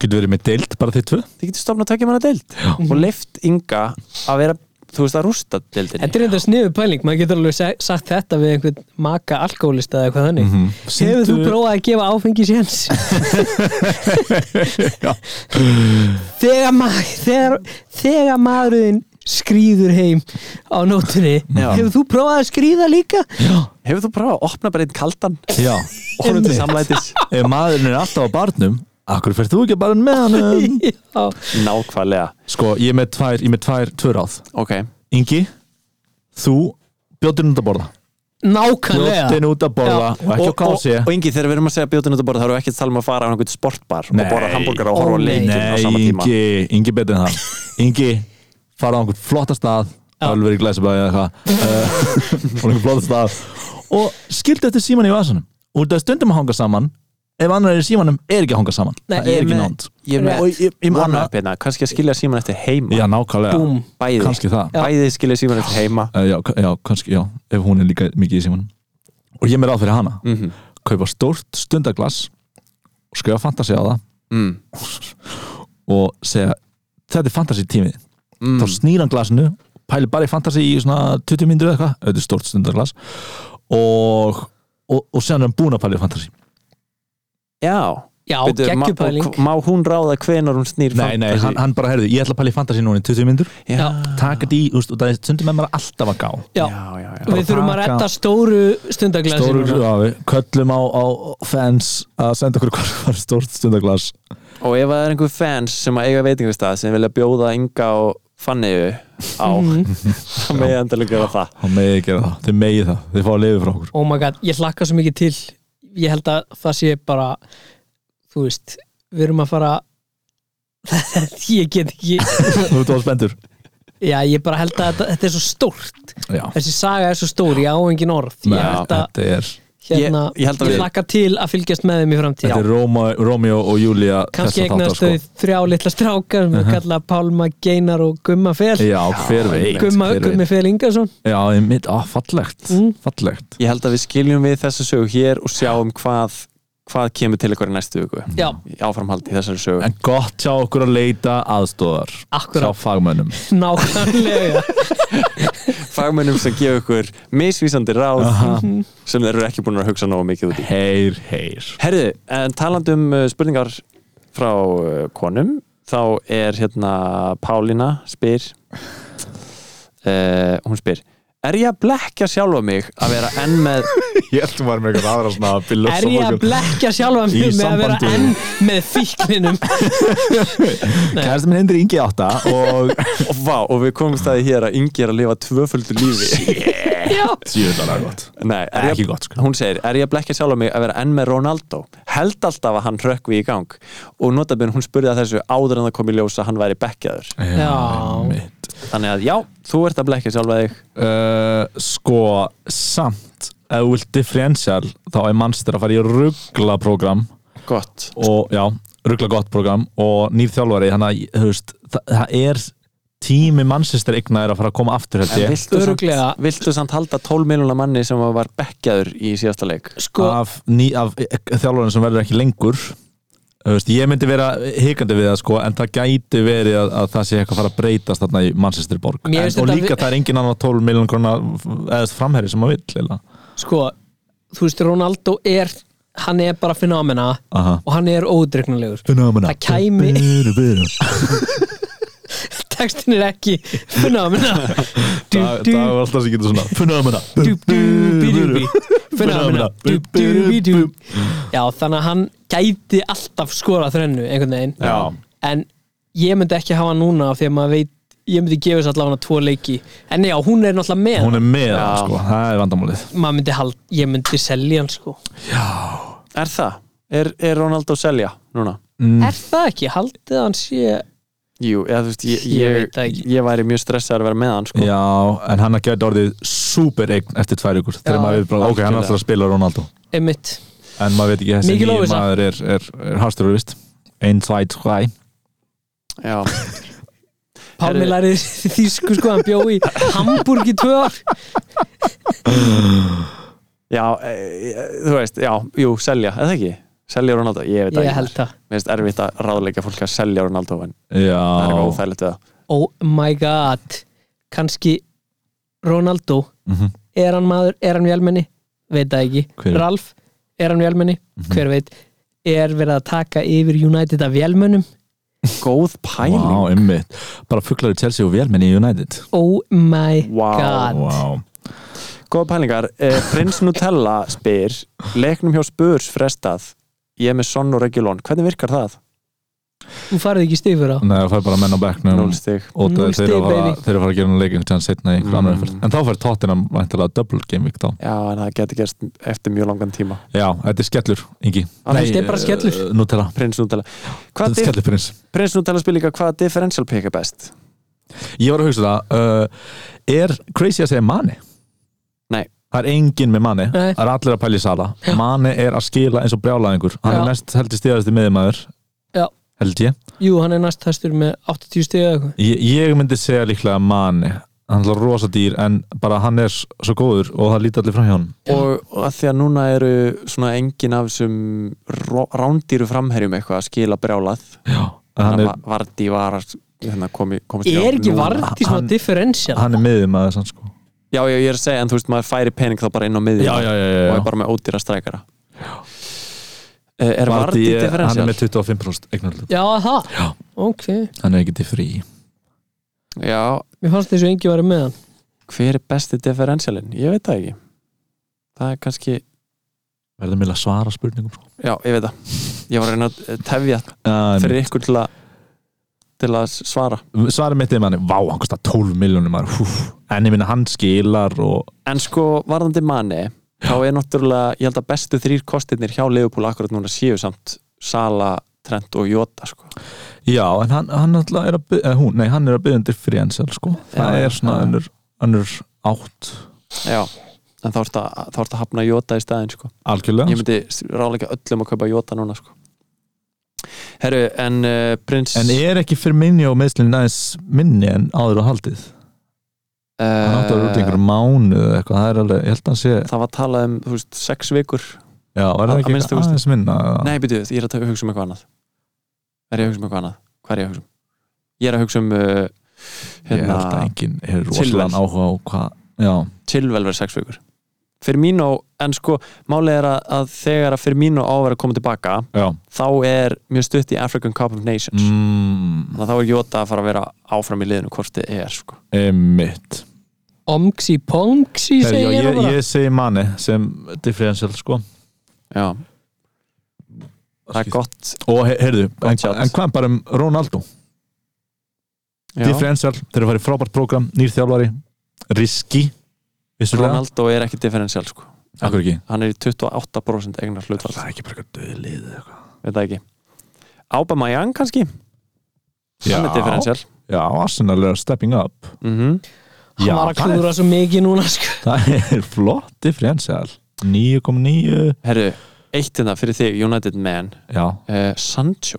Speaker 4: getur verið með deilt bara þið tvö
Speaker 3: þið getur stofnað að taka manna deild
Speaker 5: Mhm.
Speaker 3: og leift Inga að vera þú veist að rústa deildinni
Speaker 5: þetta er enda sniðu pæling maður getur alveg sa- sagt þetta við einhvern maka alkoholista eða eitthvað þannig
Speaker 3: Mhm.
Speaker 5: hefur þú prófað að gefa áfengi séns þegar, ma þegar, þegar maðurinn skrýður heim á nótunni
Speaker 3: Já.
Speaker 5: hefur þú prófað að skrýða líka
Speaker 3: Hefur þú prófað að opna bara einn kaldan
Speaker 4: Já,
Speaker 3: og honum til samlætis?
Speaker 4: ef maðurinn er alltaf á barnum Akkur fyrir þú ekki bara með hann
Speaker 5: Já.
Speaker 3: Nákvæmlega
Speaker 4: Sko, ég er með tvær, ég er með tvær, tvö ráð
Speaker 3: Ok,
Speaker 4: Ingi, þú bjóttir út að borða
Speaker 5: nákvæmlega
Speaker 4: Bjóttir út að borða
Speaker 5: Já.
Speaker 4: og ekki á
Speaker 3: og, og,
Speaker 4: kási
Speaker 3: og Ingi, þegar við erum að segja bjótin út að borða þá erum við ekki að tala um að fara á einhvern sportbar
Speaker 4: Nei.
Speaker 3: og borða hambúrgar og
Speaker 5: Ó,
Speaker 3: horfa á
Speaker 5: nei.
Speaker 3: leikinn á
Speaker 4: Nei,
Speaker 3: sama tíma
Speaker 4: Ingi, Ingi betur en það Ingi, fara á einhvern flotta stað Alveg í glæsabæði eða eitthvað eh, Á einhvern flotta stað Og skildi eftir síman í vasanum Út að stundum að hanga saman ef annar er í símanum er ekki að hanga saman
Speaker 5: Nei,
Speaker 4: það
Speaker 5: ég
Speaker 4: er ekki
Speaker 5: með-
Speaker 4: nánd
Speaker 3: ég er
Speaker 4: og
Speaker 3: með
Speaker 4: ég, ég með
Speaker 3: vona
Speaker 4: annað
Speaker 3: upp hérna, kannski að skilja síman eftir heima
Speaker 4: já nákvæmlega,
Speaker 5: Búm.
Speaker 3: bæði,
Speaker 4: kannski það
Speaker 5: Já.
Speaker 3: bæði skilja síman eftir heima
Speaker 4: Eh, já, já, kannski, já, ef hún er líka mikið í símanum og ég með ráð fyrir hana
Speaker 3: mm -hmm.
Speaker 4: kaupa stórt stundaglass og skrifa fantasi á það
Speaker 3: mm.
Speaker 4: mhm, og segja þetta er fantasi tímið
Speaker 3: Mm.
Speaker 4: þá snýr hann glasinu pælir bara í fantasi í svona 20 mínútur eða eitthvað auðvitað stórt stundaglas og, og, og séðan er hann búin að pæla í fantasi
Speaker 3: já,
Speaker 5: já,
Speaker 3: Bíddu, ma- og
Speaker 5: geggjupæling
Speaker 3: hv- má hún ráða hvenar hún snýr
Speaker 4: nei, nei,
Speaker 3: fantasy?
Speaker 4: hann, hann bara herði, ég ætla að pæla í fantasi núna í 20 mínútur
Speaker 3: já,
Speaker 5: Ah.
Speaker 4: taka því, þú veist, og það er stundum með maður alltaf að gá
Speaker 5: já,
Speaker 3: já, já, já.
Speaker 5: við þurfum að
Speaker 4: taka-
Speaker 5: redda stóru stundaglæsi
Speaker 4: stóru grafi, köllum á, á fans að senda okkur hvað var stórt stundaglas
Speaker 3: og ef það er einhver fans sem að eiga veitingastað sem vilja bjóða Inga og Fanniu á
Speaker 5: Mhm.
Speaker 3: þá megið endalega gera það
Speaker 4: þá megið ekki það, þið megið það, þið fá að lifa frá okkur
Speaker 5: oh my god, ég hlakka svo mikið til ég held að það sé bara þú veist, við erum að fara ég get ekki
Speaker 4: þú ert á spendur
Speaker 5: já, ég bara held að þetta, þetta er svo stórt
Speaker 4: já,
Speaker 5: þessi saga er svo stór, ég á engin orð ég
Speaker 4: já
Speaker 5: held að,
Speaker 4: þetta er
Speaker 5: hérna,
Speaker 3: Ég- ég held að
Speaker 5: ég
Speaker 3: við-
Speaker 5: hlakka til að fylgjast með þeim í
Speaker 4: Þetta
Speaker 5: framtíð
Speaker 4: er Róma, Romeo og Júlia
Speaker 5: kannski
Speaker 4: þessa sko. þáttar,
Speaker 5: eignast þau þrjá litla strákar sem við kalla Pálma Geinar og Gumma Fel
Speaker 4: Já, hver veit
Speaker 5: Gumma,
Speaker 4: hver veit.
Speaker 5: Gummi Fel Ingarsson
Speaker 4: Já, einmitt, á, fallegt,
Speaker 5: Mm.
Speaker 4: fallegt
Speaker 3: ég held að við skiljum við þessa sögu hér og sjáum hvað, hvað kemur til ykkur í næstu viku
Speaker 5: já,
Speaker 3: Í áframhaldi í þessari sögu
Speaker 4: En gott hjá okkur að leita aðstóðar Hjá
Speaker 5: akkurat,
Speaker 4: fagmönnum
Speaker 5: nákvæmlega
Speaker 3: fagmennum sem gefa ykkur misvísandi ráð sem þeir eru ekki búin að hugsa nógu mikið út í
Speaker 4: Heyr, heyr
Speaker 3: Herðu, en talandi um uh, spurningar frá uh, konum þá er hérna Pálína spyr uh, hún spyr Er ég að blekja sjálfa mig að vera enn með
Speaker 4: Ég held að maður með eitthvað aðra svona billu
Speaker 5: er ég að blekja sjálfa
Speaker 4: Í
Speaker 5: mig með að vera
Speaker 4: sambandi.
Speaker 5: enn með fíklinum
Speaker 4: Kærasti minn hindri yngi átta og
Speaker 3: og, vá, og við komum staði hér að yngi er að lifa tvöföldu lífi
Speaker 5: já,
Speaker 4: Sjöðalega gott
Speaker 3: Nei, er ég,
Speaker 4: Ekki gott sko
Speaker 3: hún segir, er ég að blekja sjálfa mig að vera enn með Ronaldo held alltaf að hann rökkvi í gang og notabinn hún spurði að þessu áður en það kom í ljós að hann væri bekkjaður
Speaker 5: Já.
Speaker 4: einmitt.
Speaker 3: þannig að já, þú ert að blekja sjálfa þig
Speaker 4: Uh, Sko, samt Ef þú vilt differential Þá er mannstæður að fara í ruggla program
Speaker 3: gott,
Speaker 4: og já, ruggla gott program og nýr þjálfari, þannig að þú veist, það, það er tími mannsistir eignar að fara að koma aftur held
Speaker 3: en
Speaker 4: ég
Speaker 3: viltu samt,
Speaker 5: Örugglega.
Speaker 3: viltu samt halda 12 miljónar manni sem var bekkjaður í síðasta leik
Speaker 5: sko,
Speaker 4: af, ný, af e- e- þjálfarinn sem verður ekki lengur þú veist, ég myndi vera hikandi við það sko, en það gæti verið að, að það sé eitthvað að fara að breytast þarna í mannsistir borg
Speaker 5: Mér
Speaker 4: en,
Speaker 5: finnst
Speaker 4: og
Speaker 5: þetta
Speaker 4: líka
Speaker 5: vi-
Speaker 4: það er engin annar 12 miljón krona eða framherri sem að vill eiginlega.
Speaker 5: sko þú veist, Ronaldo er hann er bara fenómena
Speaker 4: Aha.
Speaker 5: og hann er ódregnulegur
Speaker 4: Phenomena.
Speaker 5: Það kæmi-
Speaker 4: Byrju, byrju.
Speaker 5: textin er ekki fenómena
Speaker 4: Dag dag var alltaf sem getur svona Phenomena.
Speaker 5: fenómena já, þannig að hann gæti alltaf skorað þrennu einhvern veginn
Speaker 4: Já.
Speaker 5: en ég myndi ekki hafa hann núna af því að maður veit ég myndi gefa þess allavega tvo leiki en já, hún er náttúrulega með
Speaker 4: hún er með
Speaker 3: Já.
Speaker 4: sko, það er vandamálið
Speaker 5: maður myndi hald, ég myndi selja hann sko
Speaker 3: er það, er, er Ronaldo selja núna?
Speaker 4: Mm,
Speaker 5: er það ekki, haldið að hann sé
Speaker 3: Jú, eða þú veist, ég,
Speaker 5: Ég
Speaker 3: ég,
Speaker 5: veit það
Speaker 3: ég,
Speaker 5: ekki.
Speaker 3: væri mjög stressaður að vera með hann sko.
Speaker 4: Já, en hann að geta orðið super eign eftir tvær ykkur þegar
Speaker 5: Já.
Speaker 4: maður veit bara, ok, hann er alltaf að spila Ronaldo
Speaker 5: emitt,
Speaker 4: en maður veit ekki, þessi
Speaker 5: Mikil
Speaker 4: nýju
Speaker 5: óvissa.
Speaker 4: maður er, er, er harstur og vist ein, tvæ, tvæ
Speaker 3: Já.
Speaker 5: Pálmi
Speaker 3: Herri.
Speaker 5: lærið þýsku sko, hann bjó í Hamburg í tvö ár
Speaker 3: já, e, e, þú veist, já, jú, selja eða ekki, selja Ronaldo, ég veit það
Speaker 5: ég
Speaker 3: ekki.
Speaker 5: held það,
Speaker 3: Mér finnst erfitt að ráðleika fólk að selja Ronaldo en það er eitthvað
Speaker 4: Já,
Speaker 3: óþægilegt við það
Speaker 5: oh my god kannski Ronaldo
Speaker 4: Mhm.
Speaker 5: er hann maður, er hann vélmenni veit það ekki,
Speaker 4: Hver?
Speaker 5: Ralf er hann vélmenni,
Speaker 3: Mhm.
Speaker 5: hver veit er verið að taka yfir United af vélmönnum
Speaker 3: Góð pæling
Speaker 4: vá, ymmið bara fugglar í Chelsea og velmenni í United
Speaker 5: oh my
Speaker 3: Vá,
Speaker 5: god
Speaker 4: Vá,
Speaker 3: Góða pælingar, eh, Prins Nutella spyr Leiknum hjá Spurs frestað Ég er með Son og Regulon Hvernig virkar það?
Speaker 5: þú farið ekki stig
Speaker 3: Mm.
Speaker 5: fyrir á
Speaker 4: Nei, það fær bara menn á bekknum
Speaker 3: Núl stig
Speaker 4: og
Speaker 5: Núll
Speaker 4: þeir eru
Speaker 5: stig,
Speaker 4: að fara
Speaker 5: baby.
Speaker 4: þeir eru að fara að gera hann leikin sem setna í einhver
Speaker 3: Mm.
Speaker 4: annar umferð en þá fær Tottenham væntanlega double game week þá
Speaker 3: Já, en það getur gerst eftir mjög langan tíma
Speaker 4: Já, þetta er skellur, Ingi
Speaker 3: Þetta
Speaker 4: Nei,
Speaker 5: er bara skellur.
Speaker 4: eh, Nutella,
Speaker 3: Prins Nutella
Speaker 4: þetta
Speaker 3: Hvað
Speaker 4: er
Speaker 3: dif-
Speaker 4: skellur prins
Speaker 3: Prins Nutella spyr líka hvaða differential pick er best?
Speaker 4: Ég var að hugsa það uh, Er crazy að segja manni?
Speaker 3: Nei.
Speaker 4: Það er enginn með manni,
Speaker 5: Nei.
Speaker 4: það er allir að pæli sala Manni er að skila eins og brjálæðingur Hann er
Speaker 5: Já.
Speaker 4: mest heldur stíðasti miðumæður
Speaker 5: Já.
Speaker 4: Held ég.
Speaker 5: Jú, hann er næst hæstur með 80 stiga eða eitthvað
Speaker 4: ég Ég myndi segja líklega manni Hann er rosa dýr en bara hann er s- svo góður og það líti allir fram hjá hann
Speaker 3: og, og að því að núna eru svona engin af þessum ró- rándýru framherjum eitthvað að skila brjálað
Speaker 4: Hann
Speaker 3: þannig
Speaker 4: er,
Speaker 3: að Vardí var að hérna, komi, komist í
Speaker 5: Er
Speaker 3: gang
Speaker 5: ekki
Speaker 3: núna.
Speaker 5: vart í svona
Speaker 4: hann-
Speaker 5: differential?
Speaker 4: hann er miðumæður sann sko
Speaker 3: Já, já, ég er að segja, en þú veist, maður færi pening þá bara inn á miðjum
Speaker 4: já,
Speaker 3: og er bara með ódýra strækara Eh, Er Vardí
Speaker 4: Vardy, er- hann er
Speaker 3: differential?
Speaker 4: með 25% eignarlut
Speaker 5: Já, það? Já. Ok,
Speaker 4: Hann er ekki til frí
Speaker 3: Já,
Speaker 5: mér fannst þessu engi væri með hann
Speaker 3: hver er besti differentialin? Ég veit það ekki Það er kannski,
Speaker 4: Verðum við að svara spurningum sko.
Speaker 3: já, ég veit það Ég var að reyna að eh, tefja
Speaker 4: um,
Speaker 3: fyrir ykkur til að til að svara
Speaker 4: Svarið mitt er manni, vá, hann kostar 12 miljónum maður, húf, en ég minna hann skilar og
Speaker 3: En sko, varðandi manni þá er náttúrulega, ég held að bestu þrýr kostirnir hjá Leopold akkurat núna séu samt Sala, Trent og Jota sko.
Speaker 4: Já, en hann, hann alltaf er að byggja, hún, nei, hann er að byggja undir friðansel, sko. það
Speaker 3: já,
Speaker 4: er svona
Speaker 3: já.
Speaker 4: önnur, önnur átt
Speaker 3: Já, en þá ertu að, þá ertu að hafna Jota í staðin sko. Ég
Speaker 4: algjörlega.
Speaker 3: myndi ráleika öllum að kaupa Jota núna sko. Herru, en uh, prins
Speaker 4: En er ekki fyrir minni og meðslinn næðis minni en áður á haldið? Hann átti að vera út í
Speaker 3: Eh.
Speaker 4: einhverjum mánu eða eitthvað, það er alveg, ég held að hann sé,
Speaker 3: það var talað um, þú veist, sex vikur
Speaker 4: já, var
Speaker 3: Að-
Speaker 4: það
Speaker 3: að
Speaker 4: ekki
Speaker 3: minnsta
Speaker 4: eitthvað
Speaker 3: kosti.
Speaker 4: aðeins minna? eða?
Speaker 3: Nei, byrju, ég er að ta- hugsa um eitthvað annað Er ég að hugsa um eitthvað annað? Hvað er ég að hugsa um? Ég er að hugsa um uh,
Speaker 4: Ég held að
Speaker 3: hérna,
Speaker 4: enginn er
Speaker 3: Silver.
Speaker 4: rosalega áhuga á hvað, já,
Speaker 3: tilvel verið sex vikur Firmino, en sko málið er að, að þegar að Firmino á að vera að koma tilbaka
Speaker 4: já,
Speaker 3: þá er mjög stutt í African Cup of Nations
Speaker 4: mm,
Speaker 3: þannig að þá er Jota að fara að vera áfram í liðinu hvort þið er sko
Speaker 4: emitt.
Speaker 5: Omxi Pongxi
Speaker 4: Ég,
Speaker 5: segir ég
Speaker 4: ég,
Speaker 5: bara
Speaker 4: ég segi manni sem differential, sko.
Speaker 3: Já, það er gott
Speaker 4: Og he- heyrðu,
Speaker 3: Gott
Speaker 4: en,
Speaker 3: sjátt.
Speaker 4: en hvað bara um Ronaldo?
Speaker 3: Já.
Speaker 4: Differential, þeir eru að fara í frábært prógram, nýr þjálfari Riski Vissulega,
Speaker 3: Ronaldo er ekki differential sko
Speaker 4: akkur ekki
Speaker 3: hann er í 28% eignar hlutfall
Speaker 4: er ekki bara eitthvað döðlið
Speaker 3: veit það ekki Aubameyang kannski,
Speaker 4: Já, Mhm.
Speaker 3: hann er differential
Speaker 4: já Arsenal er að stepping up
Speaker 3: mm
Speaker 4: Já,
Speaker 5: Hann var að
Speaker 4: það er-
Speaker 5: klúra svo mikið núna sko.
Speaker 4: Það er flott differential 9,9
Speaker 3: Herru, eitt hérna fyrir þig United Man,
Speaker 4: já.
Speaker 3: uh, Sancho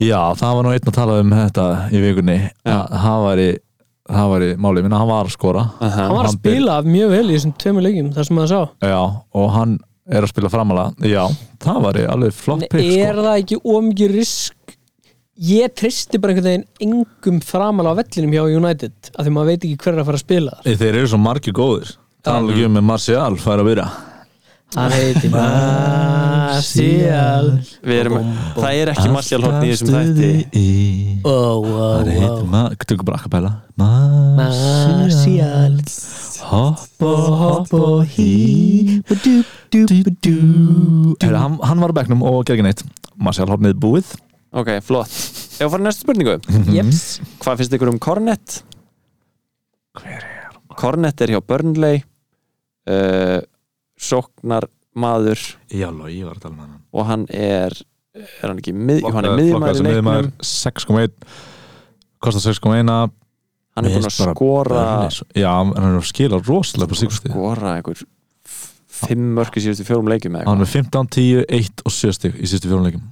Speaker 4: já, það var nú einn að tala um þetta í vikunni
Speaker 3: Já.
Speaker 4: Að það var í, það var í málið minna, hann var að skora
Speaker 3: uh
Speaker 5: Hann var að
Speaker 4: Hann
Speaker 5: spila mjög vel í þessum tveimur leikjum þar sem maður sá
Speaker 4: já, og hann er að spila framalega já, það var í alveg flott
Speaker 5: En
Speaker 4: pick
Speaker 5: Er
Speaker 4: sko.
Speaker 5: það ekki ómikið risk Ég tristi bara einhvern veginn engum framal á vellinum hjá United af því maður veit ekki hver er að fara að spila þar
Speaker 4: Þeir eru svo margir góðir Það er alveg ekki um með Martial fær að byrja
Speaker 5: Hann heiti Marcial
Speaker 3: Við erum, það er ekki Martial Hortn í þessum þætti
Speaker 4: í
Speaker 5: oh, wow,
Speaker 4: Það
Speaker 5: wow.
Speaker 4: heitir maður, tökum bara akkapæla Marcial
Speaker 5: Marcial
Speaker 4: Hopp og hopp
Speaker 5: Bobo
Speaker 4: og hí
Speaker 5: hí Badú, dú, badú
Speaker 4: Herra, hann, hann var á bekknum og gerði ekki neitt Marcial hopnið búið
Speaker 3: Ok, flott Ef að fara í næstu spurningu
Speaker 4: Mhm.
Speaker 5: Jeps
Speaker 3: Hvað finnst ykkur um Kornet?
Speaker 4: Hver er?
Speaker 3: Kornet er hjá Burnley uh, Sóknar maður
Speaker 4: Já, logi, ég var að tala með hann
Speaker 3: og hann er er hann ekki mið, jú, hann er miðjumæður í leiknum
Speaker 4: 6,1 Kostar
Speaker 3: hann er
Speaker 4: 6,1
Speaker 3: búinn að
Speaker 4: Mér finnst bara
Speaker 3: skora
Speaker 4: Já, en hann er að skila rosalega på síkusti
Speaker 3: skora einhver f- fimm mörki síðustu fjórum leikjum eða
Speaker 4: Hann er
Speaker 3: eitthvað.
Speaker 4: með 15, 10, 1 og 7 stig í sýstu fjórunleikum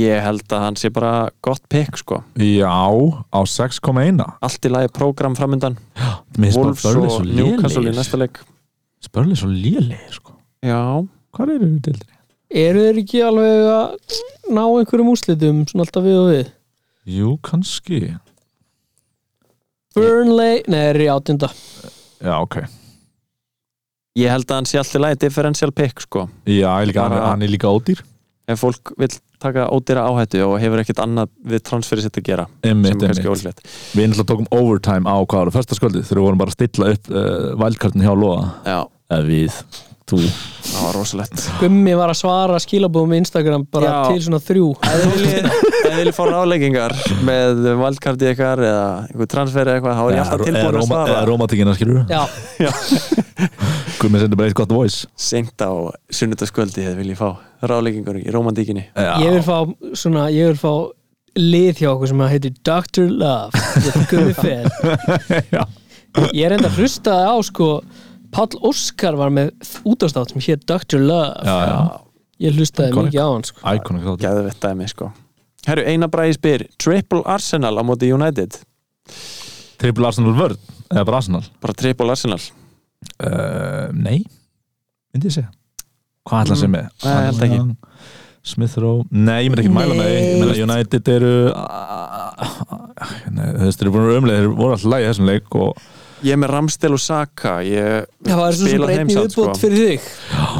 Speaker 3: ég held að hann sé bara gott pick sko
Speaker 4: Já, á 6,1
Speaker 3: allt í lagi prógram framundan
Speaker 4: Mér finnst bara
Speaker 3: Wolves
Speaker 4: Burnley
Speaker 3: og
Speaker 4: svo
Speaker 3: Newcastle í næsta
Speaker 4: lélegir.
Speaker 3: leik
Speaker 4: Burnley svo lélegir, sko
Speaker 3: já,
Speaker 4: Hvað eru við deildri?
Speaker 5: Eru þeir ekki alveg að ná einhverjum úslitum svona alltaf við og við
Speaker 4: Jú, kannski
Speaker 5: Burnley, nei, þeir eru í átjönda
Speaker 4: Já, ok
Speaker 3: ég held að hann sé allt í lagi differential pick sko
Speaker 4: Já, ég líka,
Speaker 3: Bara-
Speaker 4: hann, hann er líka ódýr
Speaker 3: ef fólk vil taka ódýra áhættu og hefur ekkert annað við transferið sitt að gera sem
Speaker 4: Einmitt,
Speaker 3: er kannski
Speaker 4: einmitt
Speaker 3: ólíklegt
Speaker 4: Við náttúrulega tókum overtime á hvað ára Fyrsta sköldið, þegar við vorum bara að stilla upp uh, Vælkartin hjá Lóa
Speaker 3: já,
Speaker 4: Eða við, þú
Speaker 3: það var rosalegt
Speaker 5: Gummi var að svara skilabóðum í Instagram bara
Speaker 3: Já.
Speaker 5: til svona þrjú
Speaker 3: eða vilja fá ráleggingar með valdkarti ykkar eða einhver transfer eða eitthvað, þá er ég alltaf
Speaker 4: Eða
Speaker 3: tilbúin að
Speaker 4: Róma- eða
Speaker 3: svara
Speaker 4: Eh, Rómatíkina skilur
Speaker 5: Já,
Speaker 4: Guðmið sendir bara eitt gott voice
Speaker 3: seint á sunnudaskvöldi eða vilja fá ráleggingar í romantíkinni
Speaker 4: Já,
Speaker 5: ég vil fá svona, ég vil fá lið hjá okkur sem að heitir Dr. Love Gummi Fer
Speaker 4: já.
Speaker 5: Ég er enda hlustaði á sko Páll Óskar var með útastátt sem hér Dr. Love
Speaker 4: Já, já.
Speaker 5: Ég hlustaði
Speaker 4: Iconic.
Speaker 5: mikið á hann sko
Speaker 4: Iconic þáttur
Speaker 3: Gæðvett dæmi sko Herru, Einar Bræði spyr Triple Arsenal á móti United
Speaker 4: Triple Arsenal vörð, eða bara Arsenal
Speaker 3: Bara Triple Arsenal
Speaker 4: uh, Nei, myndi ég segja Hvað ætla að segja með?
Speaker 3: Nei, ég held ekki.
Speaker 4: Smith Rowe, nei, ég myndi ekki mæla með því. Ég meina United eru Nei, þú veist, þeir eru búin að vera umlega þeir voru alltaf lægi þessum leik og
Speaker 3: Ég er með Ramstel og Saka Ég
Speaker 5: Það var svo sem
Speaker 3: spila
Speaker 5: bara
Speaker 3: þeim
Speaker 5: einnig
Speaker 3: samt, sko.
Speaker 5: viðbútt fyrir þig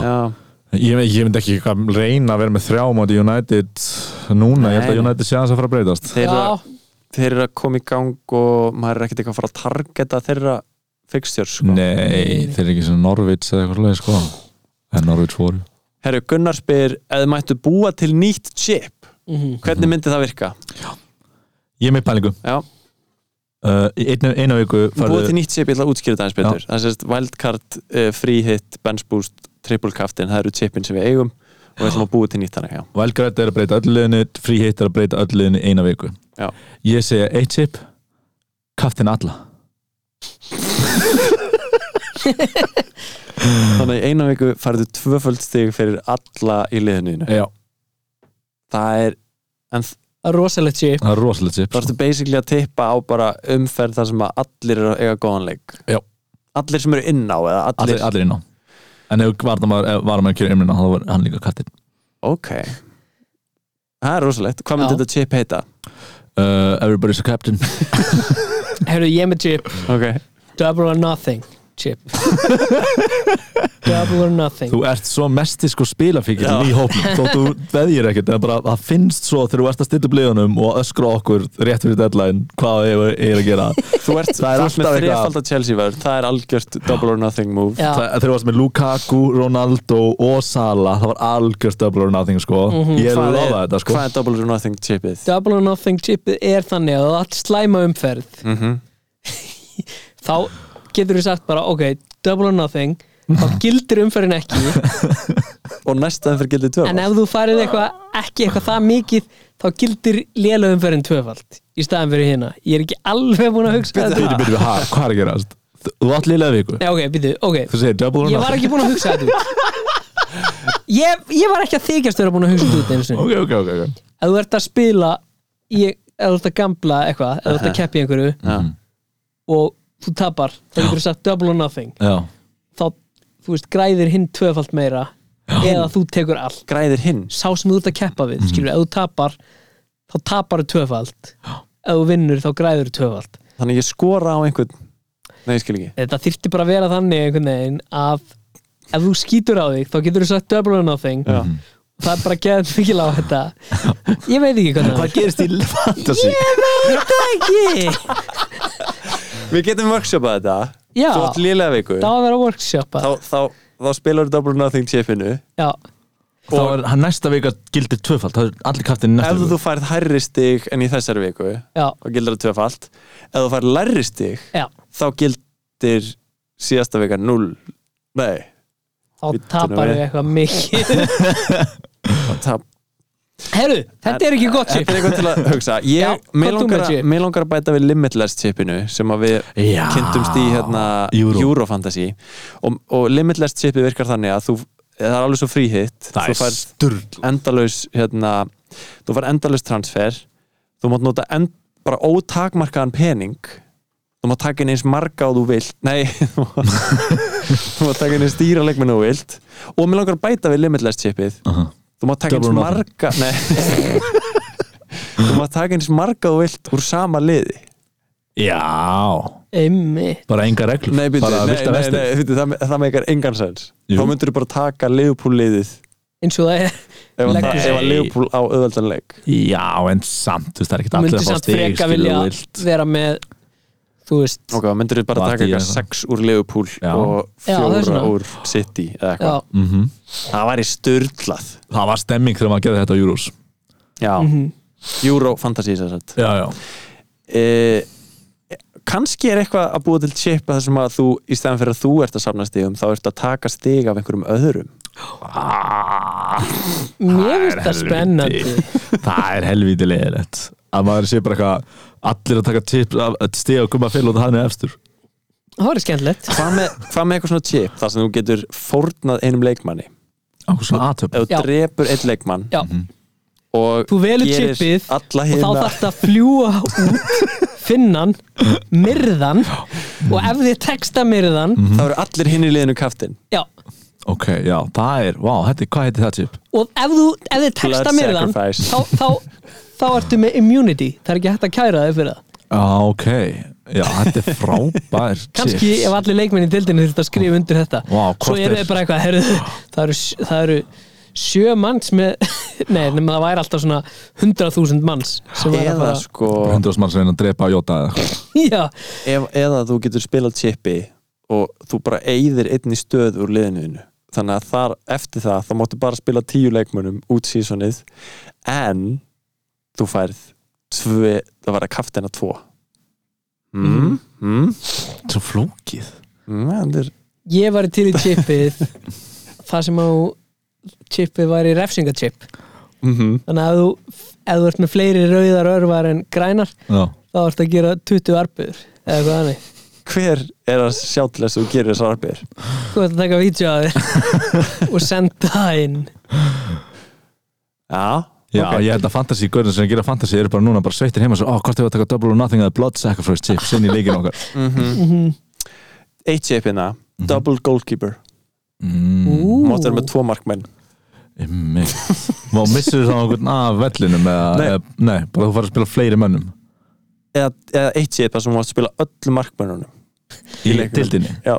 Speaker 3: Já,
Speaker 4: ég, ég myndi ekki eitthvað reyna að vera með þrjá máti United núna, ég held
Speaker 3: Nei.
Speaker 4: að United sé aðeins að fara að breytast
Speaker 3: þeir, eru
Speaker 5: Já,
Speaker 3: að- þeir eru að koma í gang og maður er ekkert eitthvað að fara að targeta þeirra fixtjör sko.
Speaker 4: Nei, þeir eru ekki svona Norvits eða eitthvað leik, sko En Norvits voru
Speaker 3: Herru, Gunnar spyr eða mættu búa til nýtt chip
Speaker 5: mhm.
Speaker 3: hvernig myndi það virka?
Speaker 4: Ég er með pælingu
Speaker 3: Já,
Speaker 4: uh, Í einu, einu viku
Speaker 3: búa til
Speaker 4: farðu
Speaker 3: nýtt chip, ég ætla að útskýra það eins betur það sést wildcard, uh, free hit, bench boost triple captain, það eru chipin sem við eigum og við ætlum að búa til nýtt þannig já.
Speaker 4: Valgrætt er að breyta öllu liðinu Free hit er að breyta öllu liðinu í eina viku
Speaker 3: Já.
Speaker 4: Ég segja eitt chip Kaftin alla
Speaker 5: Mhm.
Speaker 3: þannig í eina viku færðu tvöföld stig fyrir alla í liðinu þínu.
Speaker 4: Já.
Speaker 3: það er, en
Speaker 5: Það er rosalegt sé
Speaker 4: Það er rosalega chip sko.
Speaker 3: Þá ertu basically að tippa á bara umferð þar sem að allir eru að eiga góðan leik
Speaker 4: Já.
Speaker 3: Allir sem eru inn á eða allir,
Speaker 4: allir, allir inn á En ef varnamaður var maður kjör umlina þá var hann líka kattin
Speaker 3: Ok Það er rosalegt, hvað myndi
Speaker 5: Já.
Speaker 3: þetta chip heita?
Speaker 4: uh, Everybody's a captain
Speaker 5: Herru, ég er með chip
Speaker 3: Ok
Speaker 5: Double or nothing chip Double or nothing
Speaker 4: Þú ert svo mesti sko spilafíkil
Speaker 3: Já.
Speaker 4: í hópnum þó þú veðjir ekkert en bara það finnst svo þegar þú ert að stilla bliðunum og öskra á okkur rétt fyrir deadline hvað ég er að gera
Speaker 3: Þú ert, þú
Speaker 4: Það er
Speaker 3: ert með
Speaker 4: alltaf eitthvað.
Speaker 3: þrefaldar Chelsea verður Það er algjört double or nothing move
Speaker 5: Já,
Speaker 4: Það- þegar þú varst með Lukaku, Ronaldo og Sala það var algjörst double or nothing sko ég
Speaker 3: Hvað
Speaker 4: lofa
Speaker 3: er-
Speaker 4: þetta sko
Speaker 3: Hvað er double or nothing chipið?
Speaker 5: Double or nothing chipið er þannig að þú átt slæma umferð
Speaker 3: Mm
Speaker 4: Mhm.
Speaker 5: þá getur þú sagt bara ok, double or nothing þá gildir umferðin ekki
Speaker 3: Og næsta umferð gildi tvö
Speaker 5: en ef þú farið eitthvað ekki eitthvað það mikið þá gildir lélega umferðin tvöfald í staðan fyrir hérna ég er ekki alveg búin að hugsa
Speaker 4: Bíddu,
Speaker 5: þetta
Speaker 4: bíddu, ha, hvað er að gerast? Þú- Þú átt liðlega viku
Speaker 5: Nei, ok, býtu, ok,
Speaker 4: Þú segir double or
Speaker 5: ég var
Speaker 4: nothing
Speaker 5: ekki búin að hugsa þetta út ég, ég var ekki að þykjast vera búin að hugsa þetta út einu sinni
Speaker 4: Ok, ok, ok, ok
Speaker 5: ef þú ert að spila í, ef þú ert að gambla eitthvað ef þú ert að keppa í einhverju og þú tapar, þá getur þú sagt double or nothing
Speaker 4: Já,
Speaker 5: þá, þú veist, græðir hinn tvöfald meira eða þú tekur allt
Speaker 3: Græðir hinn
Speaker 5: sá sem þú ert að keppa við, skilur, ef þú tapar þá tapar þú tvöfald ef þú vinnur þá græður þú tvöfald
Speaker 3: Þannig ég skora á einhvern Nei, ég skil ekki
Speaker 5: þetta þyrfti bara að vera þannig einhvern veginn að ef þú skýtur á þig þá getur þú sagt double or nothing
Speaker 3: Já.
Speaker 5: það er bara að geða mikil á þetta ég veit ekki hvernig
Speaker 4: hvað gerist í fantasy?
Speaker 5: það er ekki
Speaker 3: Við getum workshopað þetta
Speaker 5: Já.
Speaker 3: Þú átt lélega viku
Speaker 5: það var að vera workshoppa
Speaker 3: Þá, þá, þá spilar þú double or nothing chipinu
Speaker 5: já,
Speaker 4: Þá er hann næsta vika gildir tvöfald Það er allir kaftin næsta
Speaker 3: Ef
Speaker 4: viku
Speaker 3: þú færð hærri stig en í þessari viku
Speaker 5: já,
Speaker 3: þá gildir það tvöfalt Ef þú færð lærri stig
Speaker 5: já
Speaker 3: þá gildir síðasta vika 0 Nei,
Speaker 5: þá
Speaker 3: Bíddu nú
Speaker 5: tapar
Speaker 3: við.
Speaker 5: við eitthvað mikið
Speaker 3: það
Speaker 5: herru, þetta er ekki gott
Speaker 3: Þetta
Speaker 5: chip
Speaker 3: er eitthvað til að hugsa Ég,
Speaker 5: Já, hvað
Speaker 3: mig,
Speaker 5: þú
Speaker 3: langar
Speaker 5: með
Speaker 3: að,
Speaker 5: chip?
Speaker 3: mig langar að bæta við limitless chipinu sem að við
Speaker 4: Já.
Speaker 3: kynntumst í hérna
Speaker 4: Euro.
Speaker 3: Eurofantasy og, og limitless chipið virkar þannig að þú það er alveg svo fríhitt
Speaker 4: Það
Speaker 3: þú
Speaker 4: er
Speaker 3: færð
Speaker 4: sturl
Speaker 3: endalaus hérna, þú fær endalaus transfer þú mátt nota end, bara ótakmarkaðan pening þú mátt taka inn eins marga og þú vilt nei þú mátt þú mátt taka inn eins dýra leikmenn og þú vilt og mér langar að bæta við limitless chipið
Speaker 4: Aha.
Speaker 3: þú mátt taka eins
Speaker 4: Double or nothing.
Speaker 3: marga nei þú mátt taka eins marga og þú vilt úr sama liði
Speaker 4: Já,
Speaker 5: einmitt
Speaker 4: bara enga reglur
Speaker 3: nei, byrju,
Speaker 4: Bara
Speaker 3: nei,
Speaker 4: vilda
Speaker 3: nei,
Speaker 4: vestið.
Speaker 3: nei, byrju, það, það meikar engan sens
Speaker 4: Jú.
Speaker 3: þá myndur þú bara taka Liverpool liðið
Speaker 5: eins og það er
Speaker 3: ef, að-
Speaker 5: Leggur
Speaker 3: ef að Liverpool á auðveldan leik
Speaker 4: Já, en samt, þú veist, það er ekkert
Speaker 5: þú
Speaker 4: allir
Speaker 5: myndir
Speaker 4: að fá
Speaker 5: samt
Speaker 4: stig
Speaker 5: freka
Speaker 4: skilur
Speaker 5: vilja
Speaker 4: þú vilt.
Speaker 5: vera með þú veist
Speaker 3: Ok, þá myndir þú bara
Speaker 4: Vardy
Speaker 3: taka eitthvað
Speaker 4: eða
Speaker 3: sex úr Liverpool
Speaker 4: Já.
Speaker 3: og
Speaker 5: Já, það er
Speaker 3: fjóra
Speaker 5: svona.
Speaker 3: úr City eða
Speaker 5: já,
Speaker 3: eitthvað.
Speaker 4: Mhm.
Speaker 3: Það væri störtlað.
Speaker 4: Það var stemming þegar maður gerði þetta á Euros
Speaker 3: Já. Mm
Speaker 5: Mhm.
Speaker 3: -hmm. Euro fantasy þess að.
Speaker 4: Já, já, Eh,
Speaker 3: E, Kanski er eitthvað að búa til chip að þessum að þú, í stæðan fyrir að þú ert að safna stigum, þá ertu að taka stig af einhverjum öðrum.
Speaker 5: Ah. mér finnst það spennandi
Speaker 4: Það er helviti leðilegt Að maður sé bara eitthvað Allir að taka tips af- að stiga og koma fyrir og það hann er efstur
Speaker 5: það var skemmtilegt
Speaker 3: hvað með, hvað með eitthvað svona chip þar sem þú getur fórnað einum leikmanni
Speaker 4: á svona aðtöp
Speaker 3: ef þú
Speaker 5: Já.
Speaker 3: drepur einn leikmann
Speaker 5: Já.
Speaker 3: og
Speaker 5: þú velur
Speaker 3: gerir
Speaker 5: chipið og
Speaker 3: alla
Speaker 5: þá
Speaker 3: hérna
Speaker 5: þarf þetta að fljúa út finnan, myrðan og ef þið texta myrðan
Speaker 3: þá eru allir hinn í liðinu kaftin
Speaker 5: já,
Speaker 4: ok, já, það er, vá, þetta, hvað heitir það chip?
Speaker 5: og ef, þú, ef þið texta
Speaker 3: Blood
Speaker 5: myrðan
Speaker 3: sacrifice.
Speaker 5: þá, þá, þá ertu með immunity það er ekki hægt að kæra þig fyrir það
Speaker 4: já, ok, já, þetta er frábær
Speaker 5: kannski
Speaker 4: chip.
Speaker 5: ef allir leikmenn í dildinu þurft að skrifa undir þetta
Speaker 4: Vá,
Speaker 5: svo
Speaker 4: hvort
Speaker 5: eru
Speaker 4: er-
Speaker 5: þeir bara eitthvað heru, það, eru, sj- það eru sjö manns með, nei, nema það væri alltaf svona 100.000 manns sem væri að
Speaker 3: eða
Speaker 5: bara,
Speaker 3: sko
Speaker 4: 100 mann sem reyna að drepa Jóta eða eitthvað
Speaker 5: já,
Speaker 3: ef, eða þú getur spilað chipi og þú bara eyðir einn í stöð úr liðinuðinu þannig að þar eftir það þá máttu bara spila tíu leikmönnum út sísonið en þú færð tvö, það var að kaftina tvo mm,
Speaker 5: Mhm.
Speaker 3: mm,
Speaker 4: svo flókið
Speaker 3: mm, en þeir,
Speaker 5: ég var til í chipið það sem á chipið væri refsingachip
Speaker 3: mm
Speaker 5: þannig að ef þú, ef þú ert með fleiri rauðar örvar en grænar
Speaker 4: já,
Speaker 5: þá ert að gera 20 arbuður eða eitthvað þannig,
Speaker 3: hver er að sjá til þess að þú gerir þessar arbeigur
Speaker 5: þú ert að taka vídeo að þér og senda það inn
Speaker 3: já,
Speaker 4: já
Speaker 3: ok.
Speaker 4: ég held að fantasy, görðin sem gera fantasy eru bara núna bara sveittir heima og svo, ó, hvort hefur að taka double or nothing eða blood sacrifice chips inn í leikin okkar
Speaker 3: Mhm.
Speaker 5: Mhm.
Speaker 3: eitt chipina double goalkeeper,
Speaker 4: mm,
Speaker 5: Ú.
Speaker 3: máttu vera með tvo markmenn
Speaker 4: mig má missur þá einhvern af vellinum eða,
Speaker 3: Nei.
Speaker 4: eða, nei, bara þú farið að spila fleiri mönnum
Speaker 3: eða, eða eitt chipa sem máttu spila öllu markmennunum
Speaker 4: í
Speaker 3: leikunum.
Speaker 4: dildinni
Speaker 3: Já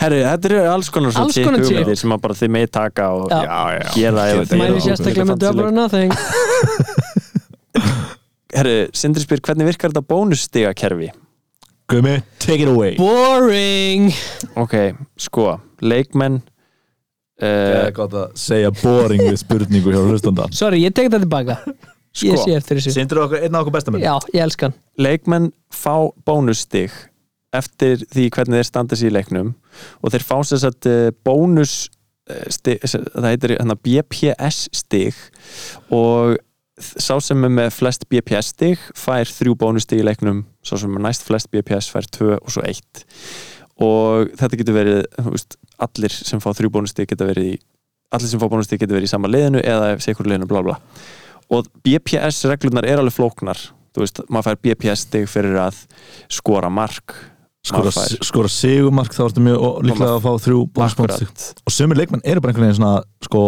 Speaker 3: Herru, þetta eru alls konar svona
Speaker 5: Alls konar
Speaker 3: chip
Speaker 5: chip.
Speaker 3: hugmyndir sem að bara þið með taka og
Speaker 5: Já.
Speaker 3: gera ef
Speaker 4: Gera
Speaker 3: þetta
Speaker 5: mæli
Speaker 3: er-
Speaker 5: sérstaklega með
Speaker 3: þetta er
Speaker 5: double or nothing
Speaker 3: Herru, Sindri spyr, hvernig virkar þetta bónusstigakerfi?
Speaker 4: Gumi, take it away
Speaker 5: boring
Speaker 3: Ok, sko, leikmenn uh,
Speaker 4: Eða Eh, gott að segja boring við spurningu hjá hlustanda
Speaker 5: Sorry, ég tek þetta tilbaka
Speaker 4: Sko,
Speaker 5: Ég sé eftir þessu
Speaker 4: Sindur okkur einn af okkur bestamenn
Speaker 5: Já, ég elska hann
Speaker 3: Leikmenn fá bónusstig eftir því hvernig þeir standa sér í leiknum og þeir fá sér satt uh, bónus eh, stig, s- það heitir hérna hana, BPS stig og þ- sá sem er með flest BPS stig fær þrjú bónusstig í leiknum sá sem er næst flest BPS fær tvö og svo eitt og þetta getur verið þú veist, allir sem fá þrjú bónusstig geta verið í allir sem fá bónusstig geta verið í sama liðinu eða ef sekur liðinu bla bla og BPS reglunar er alveg flóknar þú veist, maður fær BPS stig fyrir að skora mark
Speaker 4: Skora,
Speaker 3: maður fær-
Speaker 4: skora sigumark þá ertu mjög ó- líklega að fá þrjú bónusbónustík
Speaker 3: Akkurat.
Speaker 4: Og sömur leikmenn eru bara einhvern veginn svona sko,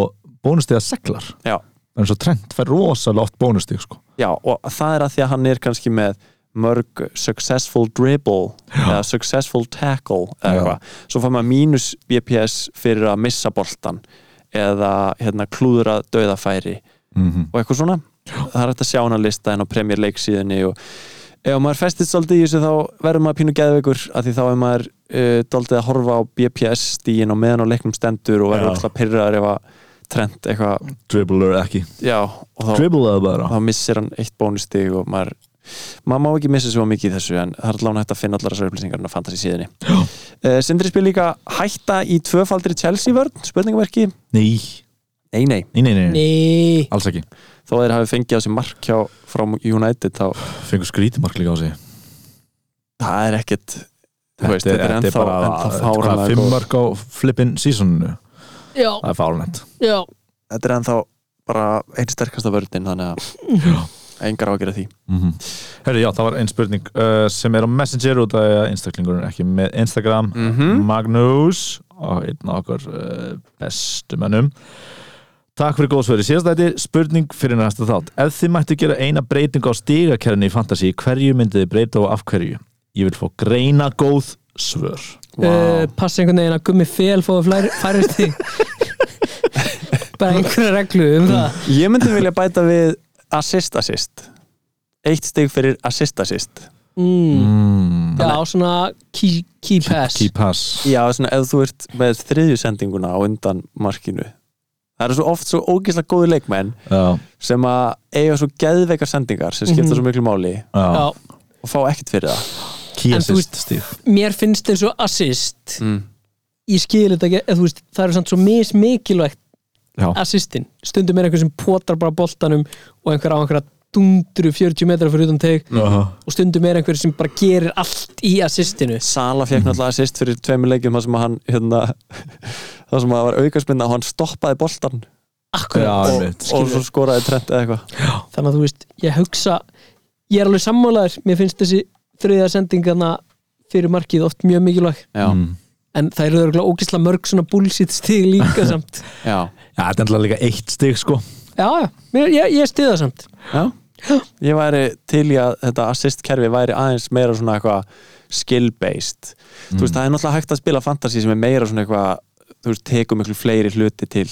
Speaker 4: bónustíða seglar
Speaker 3: Já.
Speaker 4: En svo trend fær rosalega oft bónustík sko.
Speaker 3: Já, og það er að því að hann er kannski með mörg successful dribble eða successful tackle eða
Speaker 4: Já.
Speaker 3: eitthvað, svo fær maður mínus BPS fyrir að missa boltan eða hérna klúðra dauðafæri
Speaker 4: mm
Speaker 3: og eitthvað svona það er hægt að sjá hana lista en á Premier League síðunni og ef maður festist svolítið í þessu þá verður maður pínu geðveikur af því þá er maður uh, daldið að horfa á BPS stíin og meðan á leiknum stendur og verður
Speaker 4: Já.
Speaker 3: alltaf pyrraðar ef að trend eitthvað,
Speaker 4: Dribbler ekki
Speaker 3: já og þá,
Speaker 4: Dribblaðu bara
Speaker 3: þá missir hann eitt bónustig og maður maður má ekki missa svo mikið í þessu en það er allavega hægt að finna allar þessar upplýsingar en að fanta sér síðinni uh, Sindri spil líka hætta í tvöfaldri Chelsea vörn, spurningamerki
Speaker 4: Nei,
Speaker 3: Nei, nei,
Speaker 4: nei, nei, nei, nei.
Speaker 5: Nei
Speaker 4: alls ekki
Speaker 3: þó að þeir hafi fengið á sig mark hjá frá United þá
Speaker 4: Fengur skrítimark líka á sig
Speaker 3: það er ekkert þú veist, þetta er ennþá, ennþá
Speaker 4: Hvað,
Speaker 3: fáranlega
Speaker 4: fimm
Speaker 3: góð-
Speaker 4: mark á flippin seasoninu
Speaker 5: Já,
Speaker 4: Það er fárunett
Speaker 5: já
Speaker 3: þetta er ennþá bara einn sterkasta vördin þannig að engar á að gera því
Speaker 4: mm Herri, já, það var einn spurning uh, sem er á Messenger út af því að einstaklingurinn er ekki með Instagram
Speaker 3: Mhm.
Speaker 4: Magnús og einn af okkar uh, bestu mennum Takk fyrir góðsverði. Síðast þetta spurning fyrir næsta þátt. Ef þið mættu gera eina breytingu á stigakerfinu í Fantasí, hverju myndið þið breyta og af hverju? Ég vil fá greina góð svör.
Speaker 5: uh, Passa einhvern veginn að gummi fel fóðu færri stig Bara einhverja reglu um það
Speaker 3: ég myndi vilja bæta við assist assist eitt stig fyrir assist assist
Speaker 5: mm.
Speaker 4: Mm.
Speaker 5: Já, svona key, key pass
Speaker 4: Key pass.
Speaker 3: já, svona ef þú ert með þriðju sendinguna á undan markinu það eru svo oft svo ógeðslega góði leikmenn
Speaker 4: Já,
Speaker 3: sem að eiga svo geðveikar sendingar sem skipta svo miklu máli
Speaker 4: já.
Speaker 5: Já,
Speaker 3: og fá ekkert fyrir það
Speaker 4: Key
Speaker 5: En þú
Speaker 4: assist stíg.
Speaker 5: mér finnst eins og assist
Speaker 3: mm.
Speaker 5: Ég skil þetta ekki, eða þú veist, það eru samt svo mismikilvægt
Speaker 4: Já,
Speaker 5: assistin, stundum er einhver sem potar bara boltanum og einhver á einhverja dundru 40 metra fyrir utan teg
Speaker 4: Aha.
Speaker 5: og stundum er einhver sem bara gerir allt í assistinu
Speaker 3: Sala fekk náttúrulega assist fyrir tveimur leikjum þar sem að hann hérna, þar sem að var aukastmynda og hann stoppaði boltan
Speaker 4: Já,
Speaker 5: akkurat,
Speaker 4: einmitt.
Speaker 3: og svo skoraði trent eða eitthvað
Speaker 5: þannig að þú veist ég hugsa, ég er alveg sammálaður mér finnst þessi þriðja sendingana fyrir markið oft mjög mikilvæg
Speaker 3: Já,
Speaker 4: Mm.
Speaker 5: en það eru örgulega ógisla mörg svona bullshit stig líka samt
Speaker 3: já,
Speaker 4: Já, þetta er alltaf líka eitt stig sko
Speaker 5: já, já, mér, ég, ég stiða samt
Speaker 3: já Ég væri til í að þetta assist kerfi væri aðeins meira svona eitthvað skill-based Þú veist, það er náttúrulega hægt að spila fantasy sem er meira svona eitthvað þú veist, tekum miklu fleiri hluti til,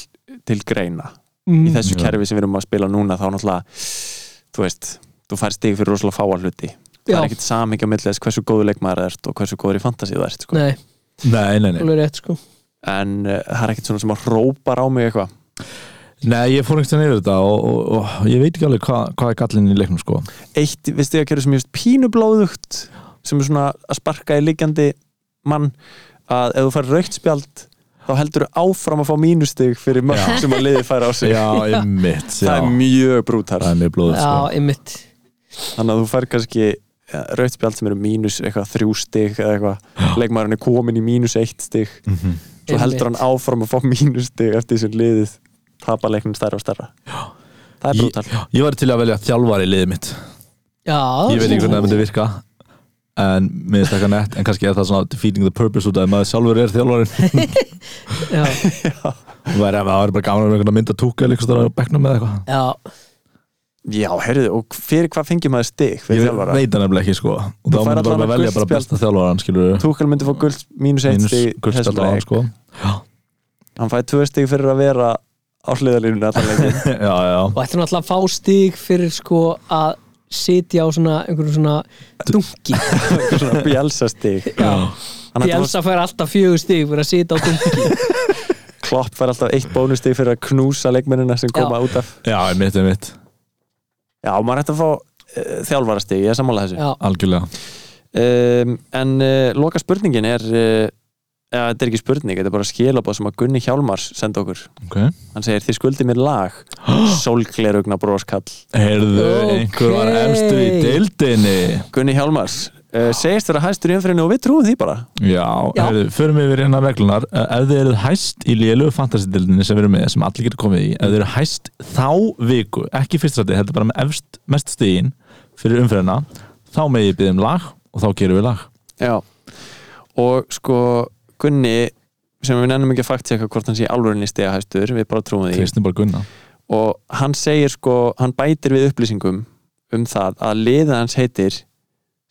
Speaker 3: til greina í
Speaker 5: mm,
Speaker 3: þessu
Speaker 4: Já.
Speaker 3: kerfi sem við erum að spila núna þá náttúrulega, þú veist þú fær stig fyrir rosalega fáa hluti það
Speaker 5: já,
Speaker 3: er ekkert samhengi á milli þess hversu góður leikmaður það ert og hversu góður í fantasy það ert sko.
Speaker 5: nei,
Speaker 4: Nei, nei, nei
Speaker 5: alveg rétt sko
Speaker 3: en uh, það er ekkert svona sem að hrópar á mig eitthvað
Speaker 4: Nei, ég fór einhvern veginn yfir þetta og, og, og ég veit ekki alveg hvað, hvað er gallin í leiknum sko
Speaker 3: eitt, veist ég að kjöru sem ég veist pínublóðugt sem er svona að sparka í liggjandi mann að ef þú fær raukt spjald þá heldur þú áfram að fá mínustig fyrir mörg sem að liði færa á sig
Speaker 4: Já, einmitt já.
Speaker 3: það er mjög brútar
Speaker 4: Það er mjög blóðið sko
Speaker 5: já, ymmit
Speaker 3: þannig að þú fær kannski ja, raukt spjald sem eru mínus eitthvað þrjú stig eða eitthvað leikmaðurinn er komin í mínus eitt stig
Speaker 4: Mhm.
Speaker 3: svo heldur hann
Speaker 5: Einmitt.
Speaker 3: áfram að fá mínus stig eftir því sem liðið tapa leiknum stærra og stærra það er
Speaker 4: Ég-
Speaker 3: brútal
Speaker 4: Ég var til að velja þjálfari í liðið mitt
Speaker 5: já,
Speaker 4: Ég veit ekki hvernig það myndi virka En mér finnst eitthvað nett En kannski er það svona defeating the purpose út af að maður sjálfur er þjálfarin
Speaker 5: já,
Speaker 4: Það væri það væri bara gaman um einhvern að mynda túka Líkast það á bekknum eða eitthvað
Speaker 5: já,
Speaker 3: já, heyrðu, og fyrir hvað fengið maður stig
Speaker 4: Ég
Speaker 3: fyrir
Speaker 4: veit
Speaker 3: þjálfara?
Speaker 4: það nefnilega ekki sko Og þá
Speaker 3: Þú fær
Speaker 4: myndi bara
Speaker 3: allavega
Speaker 4: velja
Speaker 3: gult
Speaker 4: bara
Speaker 3: spjald.
Speaker 4: besta þjálfaran skilur
Speaker 3: Túkal myndi fá guld mínus eitt
Speaker 4: Mínus
Speaker 3: stig þessum
Speaker 4: guldspjald á hann
Speaker 3: leik
Speaker 4: sko
Speaker 3: hann fæði tvö stig fyrir að vera á hliðalínunni allan leikin
Speaker 4: Já, já
Speaker 5: og ættum alltaf að fá stig fyrir sko að sitja á svona einhverjum svona dunki
Speaker 3: Eitthvað svona bjálsa stig
Speaker 5: já,
Speaker 3: hann
Speaker 5: því
Speaker 3: hætti að
Speaker 5: Elsa fær alltaf fjögur stig fyrir að sitja á dunki
Speaker 3: klopp fær alltaf eitt bónustig fyrir að knúsa leikmennina sem koma út af
Speaker 4: Já, einmitt, einmitt
Speaker 3: já, maður hætti að fá uh, þjálfara stig, ég er sammála þessu
Speaker 5: já,
Speaker 4: Algjörlega
Speaker 3: um, en uh, loka spurningin er uh, eða, þetta er ekki spurning, þetta er bara skilabóð sem að Gunni Hjálmars senda okkur
Speaker 4: Ok
Speaker 3: hann segir, þið skuldið mér lag sólglerugna broskall
Speaker 4: Heyrðu,
Speaker 5: Ok.
Speaker 4: einhver var efstur í deildinni
Speaker 3: Gunni Hjálmars, uh, segist vera hæstur í umfyririnu og við trúum því bara
Speaker 4: Já,
Speaker 5: Já.
Speaker 4: heyrðu, förum við hérna reglunar Eh, Ef þið eruð hæst í lélugu fantasy-dildinni sem við erum með, sem allir getur komið í Ef þið eruð hæst þá viku, ekki fyrst rætti heldur bara með efst, mest stíðin fyrir umfyrirna, þá megið ég byggðum um lag og þá gerum við lag
Speaker 3: Já Og sko Gunni sem við nennum ekki að fakti eitthvað hvort hann sé alvörinni stegahæstur við bara trúum því
Speaker 4: Kristinn bara Gunna
Speaker 3: og hann segir sko, hann bætir við upplýsingum um það að liða hans heitir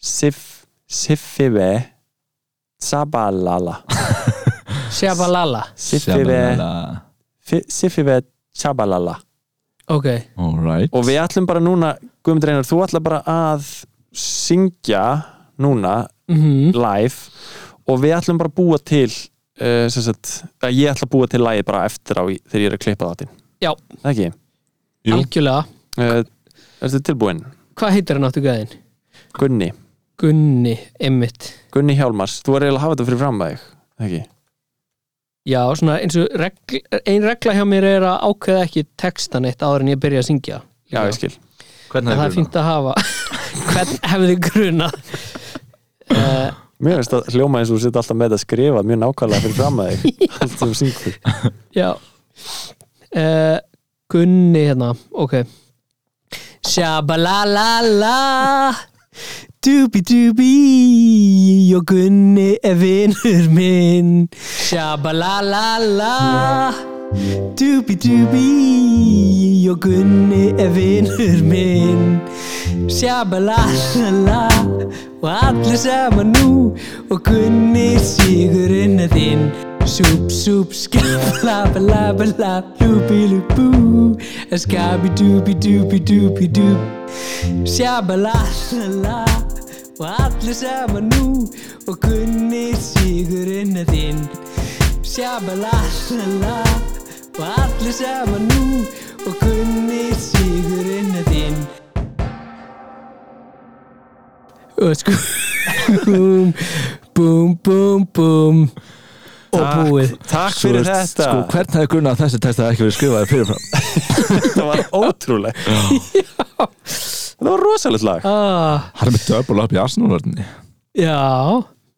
Speaker 3: Sif, Sifive Tsabalala
Speaker 5: sjabalala
Speaker 3: Sifive Fi- Sifive Tsabalala
Speaker 5: ok,
Speaker 4: Alright
Speaker 3: og við ætlum bara núna, Guðmundur Einar þú ætla bara að syngja núna
Speaker 5: mhm,
Speaker 3: live og við ætlum bara að búa til uh, sem sagt, að ég ætla að búa til lagið bara eftir á í- þegar ég er að klippa þáttinn
Speaker 5: Já.
Speaker 3: Það ekki
Speaker 4: Jú.
Speaker 5: algjörlega
Speaker 3: uh, Ertu tilbúin?
Speaker 5: hvað heitir hann áttu gæðin?
Speaker 3: Gunni,
Speaker 5: Gunni, ymmit
Speaker 3: Gunni Hjálmars þú er eiginlega að hafa þetta fyrir fram að þig það ekki?
Speaker 5: já, svona eins og regl, ein regla hjá mér er að ákveða ekki textan eitt áður en ég byrja að syngja
Speaker 3: Já, ég skil
Speaker 5: en það er fínt að hafa hvern hefði grunað uh,
Speaker 3: Mér finnst að hljóma eins og þú sitt alltaf með þetta að skrifa mjög nákvæmlega fyrir fram að þig allt sem syngur
Speaker 5: Já uh, Gunni hérna, ok Shabalala Dubi dubi Og Gunni er vinnur minn Shabalala Dubi dubi Og Gunni er vinnur minn Shabalala Og allir saman nú Og Gunni sigurinn er þinn Súb, súb, skabalabalabala Lúbi-lúbú Skabi-dúbi-dúbi-dúbi-dúb Sjabalala Og allir saman nú Og kunni sigurinn að þinn Sjabalala Og allir saman nú Og kunni sigurinn að þinn Og sko Búm, búm, búm og búið
Speaker 3: Takk fyrir þetta
Speaker 4: Sko, hvernig hefði grunnað að þessi texti hefði ekki verið skrifaði fyrirfram
Speaker 3: Þetta var ótrúleg Þetta var rosalegt lag
Speaker 5: ah,
Speaker 4: Hann er með döbul upp í Arsenal-vörðinni
Speaker 5: Já,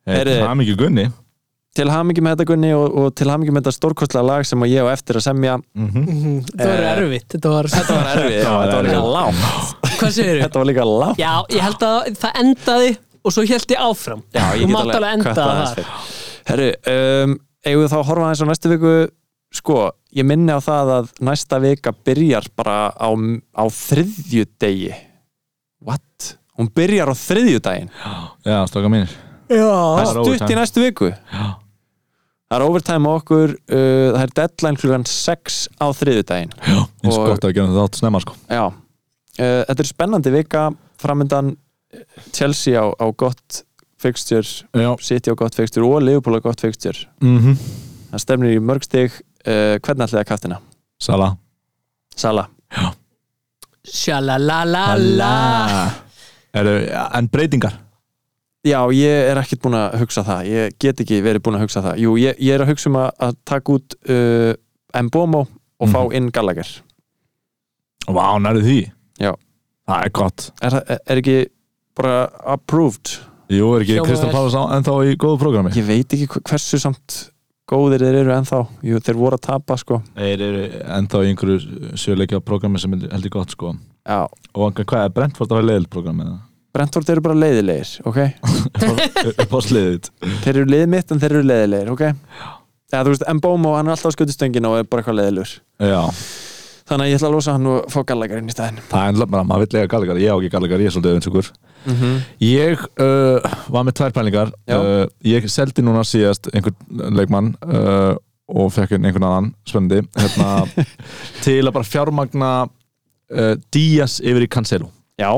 Speaker 3: Heyrðu.
Speaker 4: Það er mikið gunni
Speaker 3: Til hamingi með þetta Gunni og, og til hamingi með þetta stórkostlega lag sem ég á eftir að semja
Speaker 5: Mhm, þetta var
Speaker 3: Eh,
Speaker 5: erfitt Þetta var,
Speaker 3: Þetta var erfið, þetta var líka langt
Speaker 5: hvað segir
Speaker 3: Þetta var líka langt
Speaker 5: Já, ég held að það endaði og svo held ég áfram
Speaker 3: Já, ég
Speaker 5: Þú
Speaker 3: get
Speaker 5: mátt alveg
Speaker 3: alveg
Speaker 5: enda
Speaker 3: kvartað
Speaker 5: þar.
Speaker 3: aðeins fyrir. Herru, um, eigum við þá að horfa aðeins á næstu viku Sko, ég minni á það að næsta vika byrjar bara á, á þriðju degi What? Hún byrjar á þriðju daginn
Speaker 4: Já, stokka mínir
Speaker 5: Já,
Speaker 3: Það er
Speaker 4: er
Speaker 3: stutt í
Speaker 4: overtime.
Speaker 3: næstu viku Já. Það er overtime á okkur uh, Það er deadline klukkan 6 á þriðju daginn
Speaker 4: Já, eins
Speaker 3: Og-
Speaker 4: gott að við gerum þetta átt snemma sko
Speaker 3: Já, uh, þetta er spennandi vika framöndan eh, Chelsea á, á gott fixture
Speaker 4: Já,
Speaker 3: City á gott fixture og Liverpool á gott fixture
Speaker 4: mhm,
Speaker 3: Það stefnir í mörg stig uh, Hvernig ætlaði að kaftina?
Speaker 4: Sala
Speaker 3: Sala
Speaker 5: sjalalalala
Speaker 4: Eru, En breytingar
Speaker 3: Já, ég er ekkert búin að hugsa það Ég get ekki verið búin að hugsa það Jú, ég, ég er að hugsa um að, að taka út uh, Mbomo og fá
Speaker 4: Mhm.
Speaker 3: inn Gallagher
Speaker 4: Vá, nærðu því
Speaker 3: Já.
Speaker 4: Það er gott
Speaker 3: Er, það- er ekki bara approved?
Speaker 4: Jú, er ekki
Speaker 5: Hljómar
Speaker 4: Kristján
Speaker 5: vel.
Speaker 4: Pálas ennþá í góðu prógrami
Speaker 3: Ég veit ekki hve- hversu samt góðir þeir eru ennþá Jú, þeir voru að tapa sko
Speaker 4: Þeir eru ennþá í einhverju sjöleikja prógrami sem er heldur gott sko
Speaker 3: Já,
Speaker 4: Og hvað er Brentford að vera leiðil prógrami eða?
Speaker 3: Brentford eru bara leiðilegir, ok?
Speaker 4: Upp á sliðið
Speaker 3: Þeir eru leiðið mitt en þeir eru leiðilegir, ok? Já, þú veist, Mbomo, hann er alltaf á skutustöngin og er bara eitthvað leiðilegur
Speaker 4: Já,
Speaker 3: Þannig að ég ætla að losa hann og fá Gallagher inn í stæðin
Speaker 4: það er ennlega bara, maður vill lega gallegar Ég á ekki gallegar, ég er svolítið öfinnsugur
Speaker 3: mm -hmm.
Speaker 4: Ég uh, var með tvær pælingar
Speaker 3: Já.
Speaker 4: uh, Ég seldi núna síðast einhvern leikmann uh, og fekk inn einhvern annan spennandi hérna, til að bara fjármagna uh, Díaz yfir í Cancelo
Speaker 3: Já,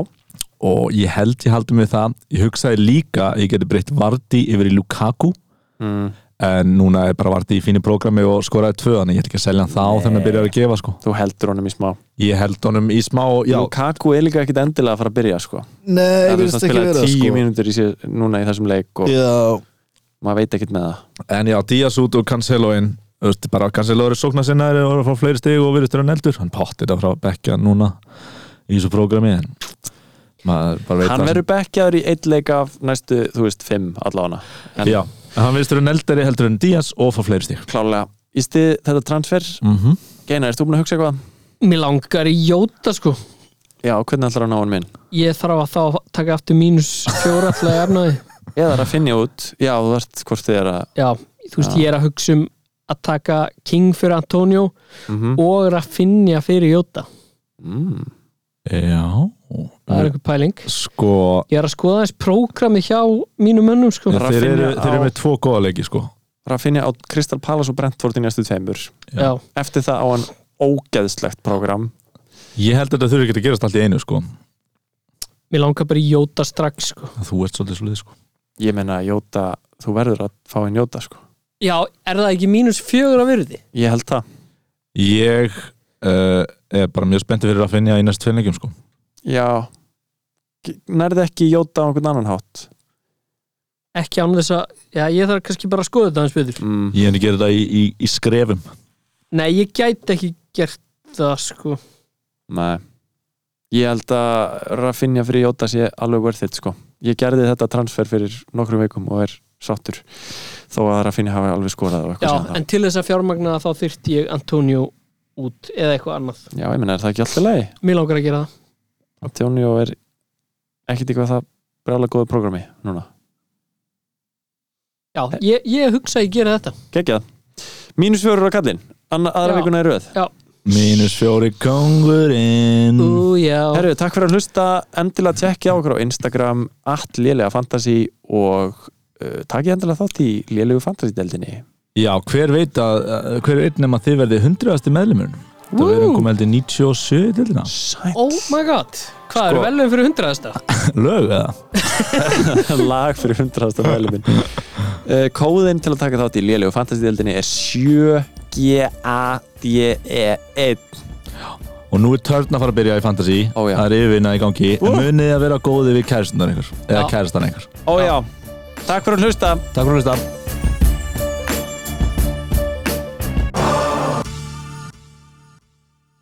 Speaker 4: og ég held ég haldi með það ég hugsaði líka að ég geti breytt Vardí yfir í Lukaku
Speaker 3: mm.
Speaker 4: en núna er bara Vardí í fínu prógrami og skoraði tvö þannig ég ætla ekki að selja hann þá þegar maður byrjar að gefa sko.
Speaker 3: þú heldur honum í smá
Speaker 4: ég held honum í smá já,
Speaker 3: Lukaku er líka ekkit endilega að fara að byrja sko
Speaker 4: Nei,
Speaker 3: Það er að spila tíu
Speaker 4: sko.
Speaker 3: mínútur í sér, núna í þessum leik og
Speaker 4: já,
Speaker 3: maður veit ekkit með það
Speaker 4: sko. En já, Díaz út og Cancelo inn Þú veist, bara Cancelo eru sóknar sinnaðir og eru að fá fleiri stig og virðist eru neldur hann pottir þetta frá bekkja núna í þessu prógrami en maður bara veit
Speaker 3: Hann verður bekkjaður í eitt leik af næstu, þú veist, fimm allána
Speaker 4: en... Já, en hann virðist eru neldari heldur en Díaz og fá fleiri stig
Speaker 3: Klálega, í stið þetta transfer
Speaker 4: mm
Speaker 3: Geinar, ertu búin að hugsa eitthvað?
Speaker 5: Mér langar í jóta sko
Speaker 3: Já, hvernig ætlar að ná hann minn?
Speaker 5: Ég þarf að þá taka aftur mínus fjóra til að efnaði
Speaker 3: Eða er að finja út, já, þú ert hvort þið er að
Speaker 5: Já, þú veist,
Speaker 3: Já.
Speaker 5: ég er að hugsa um að taka King fyrir Antonio
Speaker 3: Mhm.
Speaker 5: og Rafinha fyrir Jóta
Speaker 3: mm.
Speaker 5: Það er
Speaker 4: Já
Speaker 5: einhver pæling
Speaker 4: Sko
Speaker 5: Ég er að skoða þess prógrami hjá mínum mönnum sko
Speaker 3: Rafinha
Speaker 4: þeir eru,
Speaker 3: á-
Speaker 4: þeir eru með tvo góða leiki sko
Speaker 3: Rafinha á Crystal Palace og Brentford í næstu tveimur
Speaker 5: Já,
Speaker 3: Eftir það á hann ógeðslegt program
Speaker 4: Ég held að þetta þurfi ekki að gerast allt í einu sko
Speaker 5: mér langar bara í Jóta strax sko
Speaker 4: Þú ert svolítið svolítið sko
Speaker 3: Ég meina, Jóta, þú verður að fá inn Jóta sko.
Speaker 5: Já, er það ekki mínus fjögur að virði?
Speaker 3: Ég held það
Speaker 4: Ég uh, er bara mjög spenntið fyrir að finna í næst tveim leikum sko
Speaker 3: Já G- Nærði ekki Jóta á einhvern annan hátt
Speaker 5: Ekki án þess að, já ég þarf kannski bara að skoða þetta hans betur
Speaker 3: mm.
Speaker 4: Ég er að gera þetta í, í, í skrefum
Speaker 5: Nei, ég gæti ekki gert það sko
Speaker 3: Nei Ég held að Rafinha fyrir Jóta sé alveg worth it sko Ég gerði þetta transfer fyrir nokkrum veikum og er sáttur þó að Rafinha hafi alveg skorað og
Speaker 5: Já,
Speaker 3: eitthvað síðan
Speaker 5: en til þess að fjármagna það, þá þyrfti ég Antonio út eða eitthvað annað
Speaker 3: þá. Já, ég meina, er það ekki alltaf lagi?
Speaker 5: Mér langar að gera það
Speaker 3: Antonio er ekkert eitthvað það brjálega góðu programmi núna
Speaker 5: Já, ég, ég hugsa að ég gera þetta
Speaker 3: Gekjað Mínus fjörur á kallinn Anna, aðra
Speaker 5: Já.
Speaker 3: vikuna er röð
Speaker 4: Mínus fjóri kongurinn
Speaker 5: Ú, já
Speaker 3: Herru, takk fyrir að hlusta endilega tjekkið á okkur á Instagram alllélega fantasy og uh, takk ég endilega þátt í lélegu fantasy-deldinni
Speaker 4: Já, hver veit að uh, hver veit nema þið verði hundraðasti meðlumur Það
Speaker 5: Woo!
Speaker 4: verður komið heldur 97 í deildina
Speaker 3: Sæt
Speaker 5: Oh my god, hvað eru velum fyrir hundraðasta?
Speaker 4: Lög eða?
Speaker 3: lag fyrir 100. mæluminn uh, Kóðin til að taka þátt í lélegu fantasy-deldinni er E 7GADE1
Speaker 4: Og nú er törn að fara að byrja í Fantasy
Speaker 3: Ó, já.
Speaker 4: Það er yfirna í gangi
Speaker 3: Woo!
Speaker 4: En munið að vera góði við kæristunar einhver Eða
Speaker 5: Já.
Speaker 4: kæristan einhver
Speaker 3: Ó já, takk fyrir að hlusta
Speaker 4: Takk fyrir að hlusta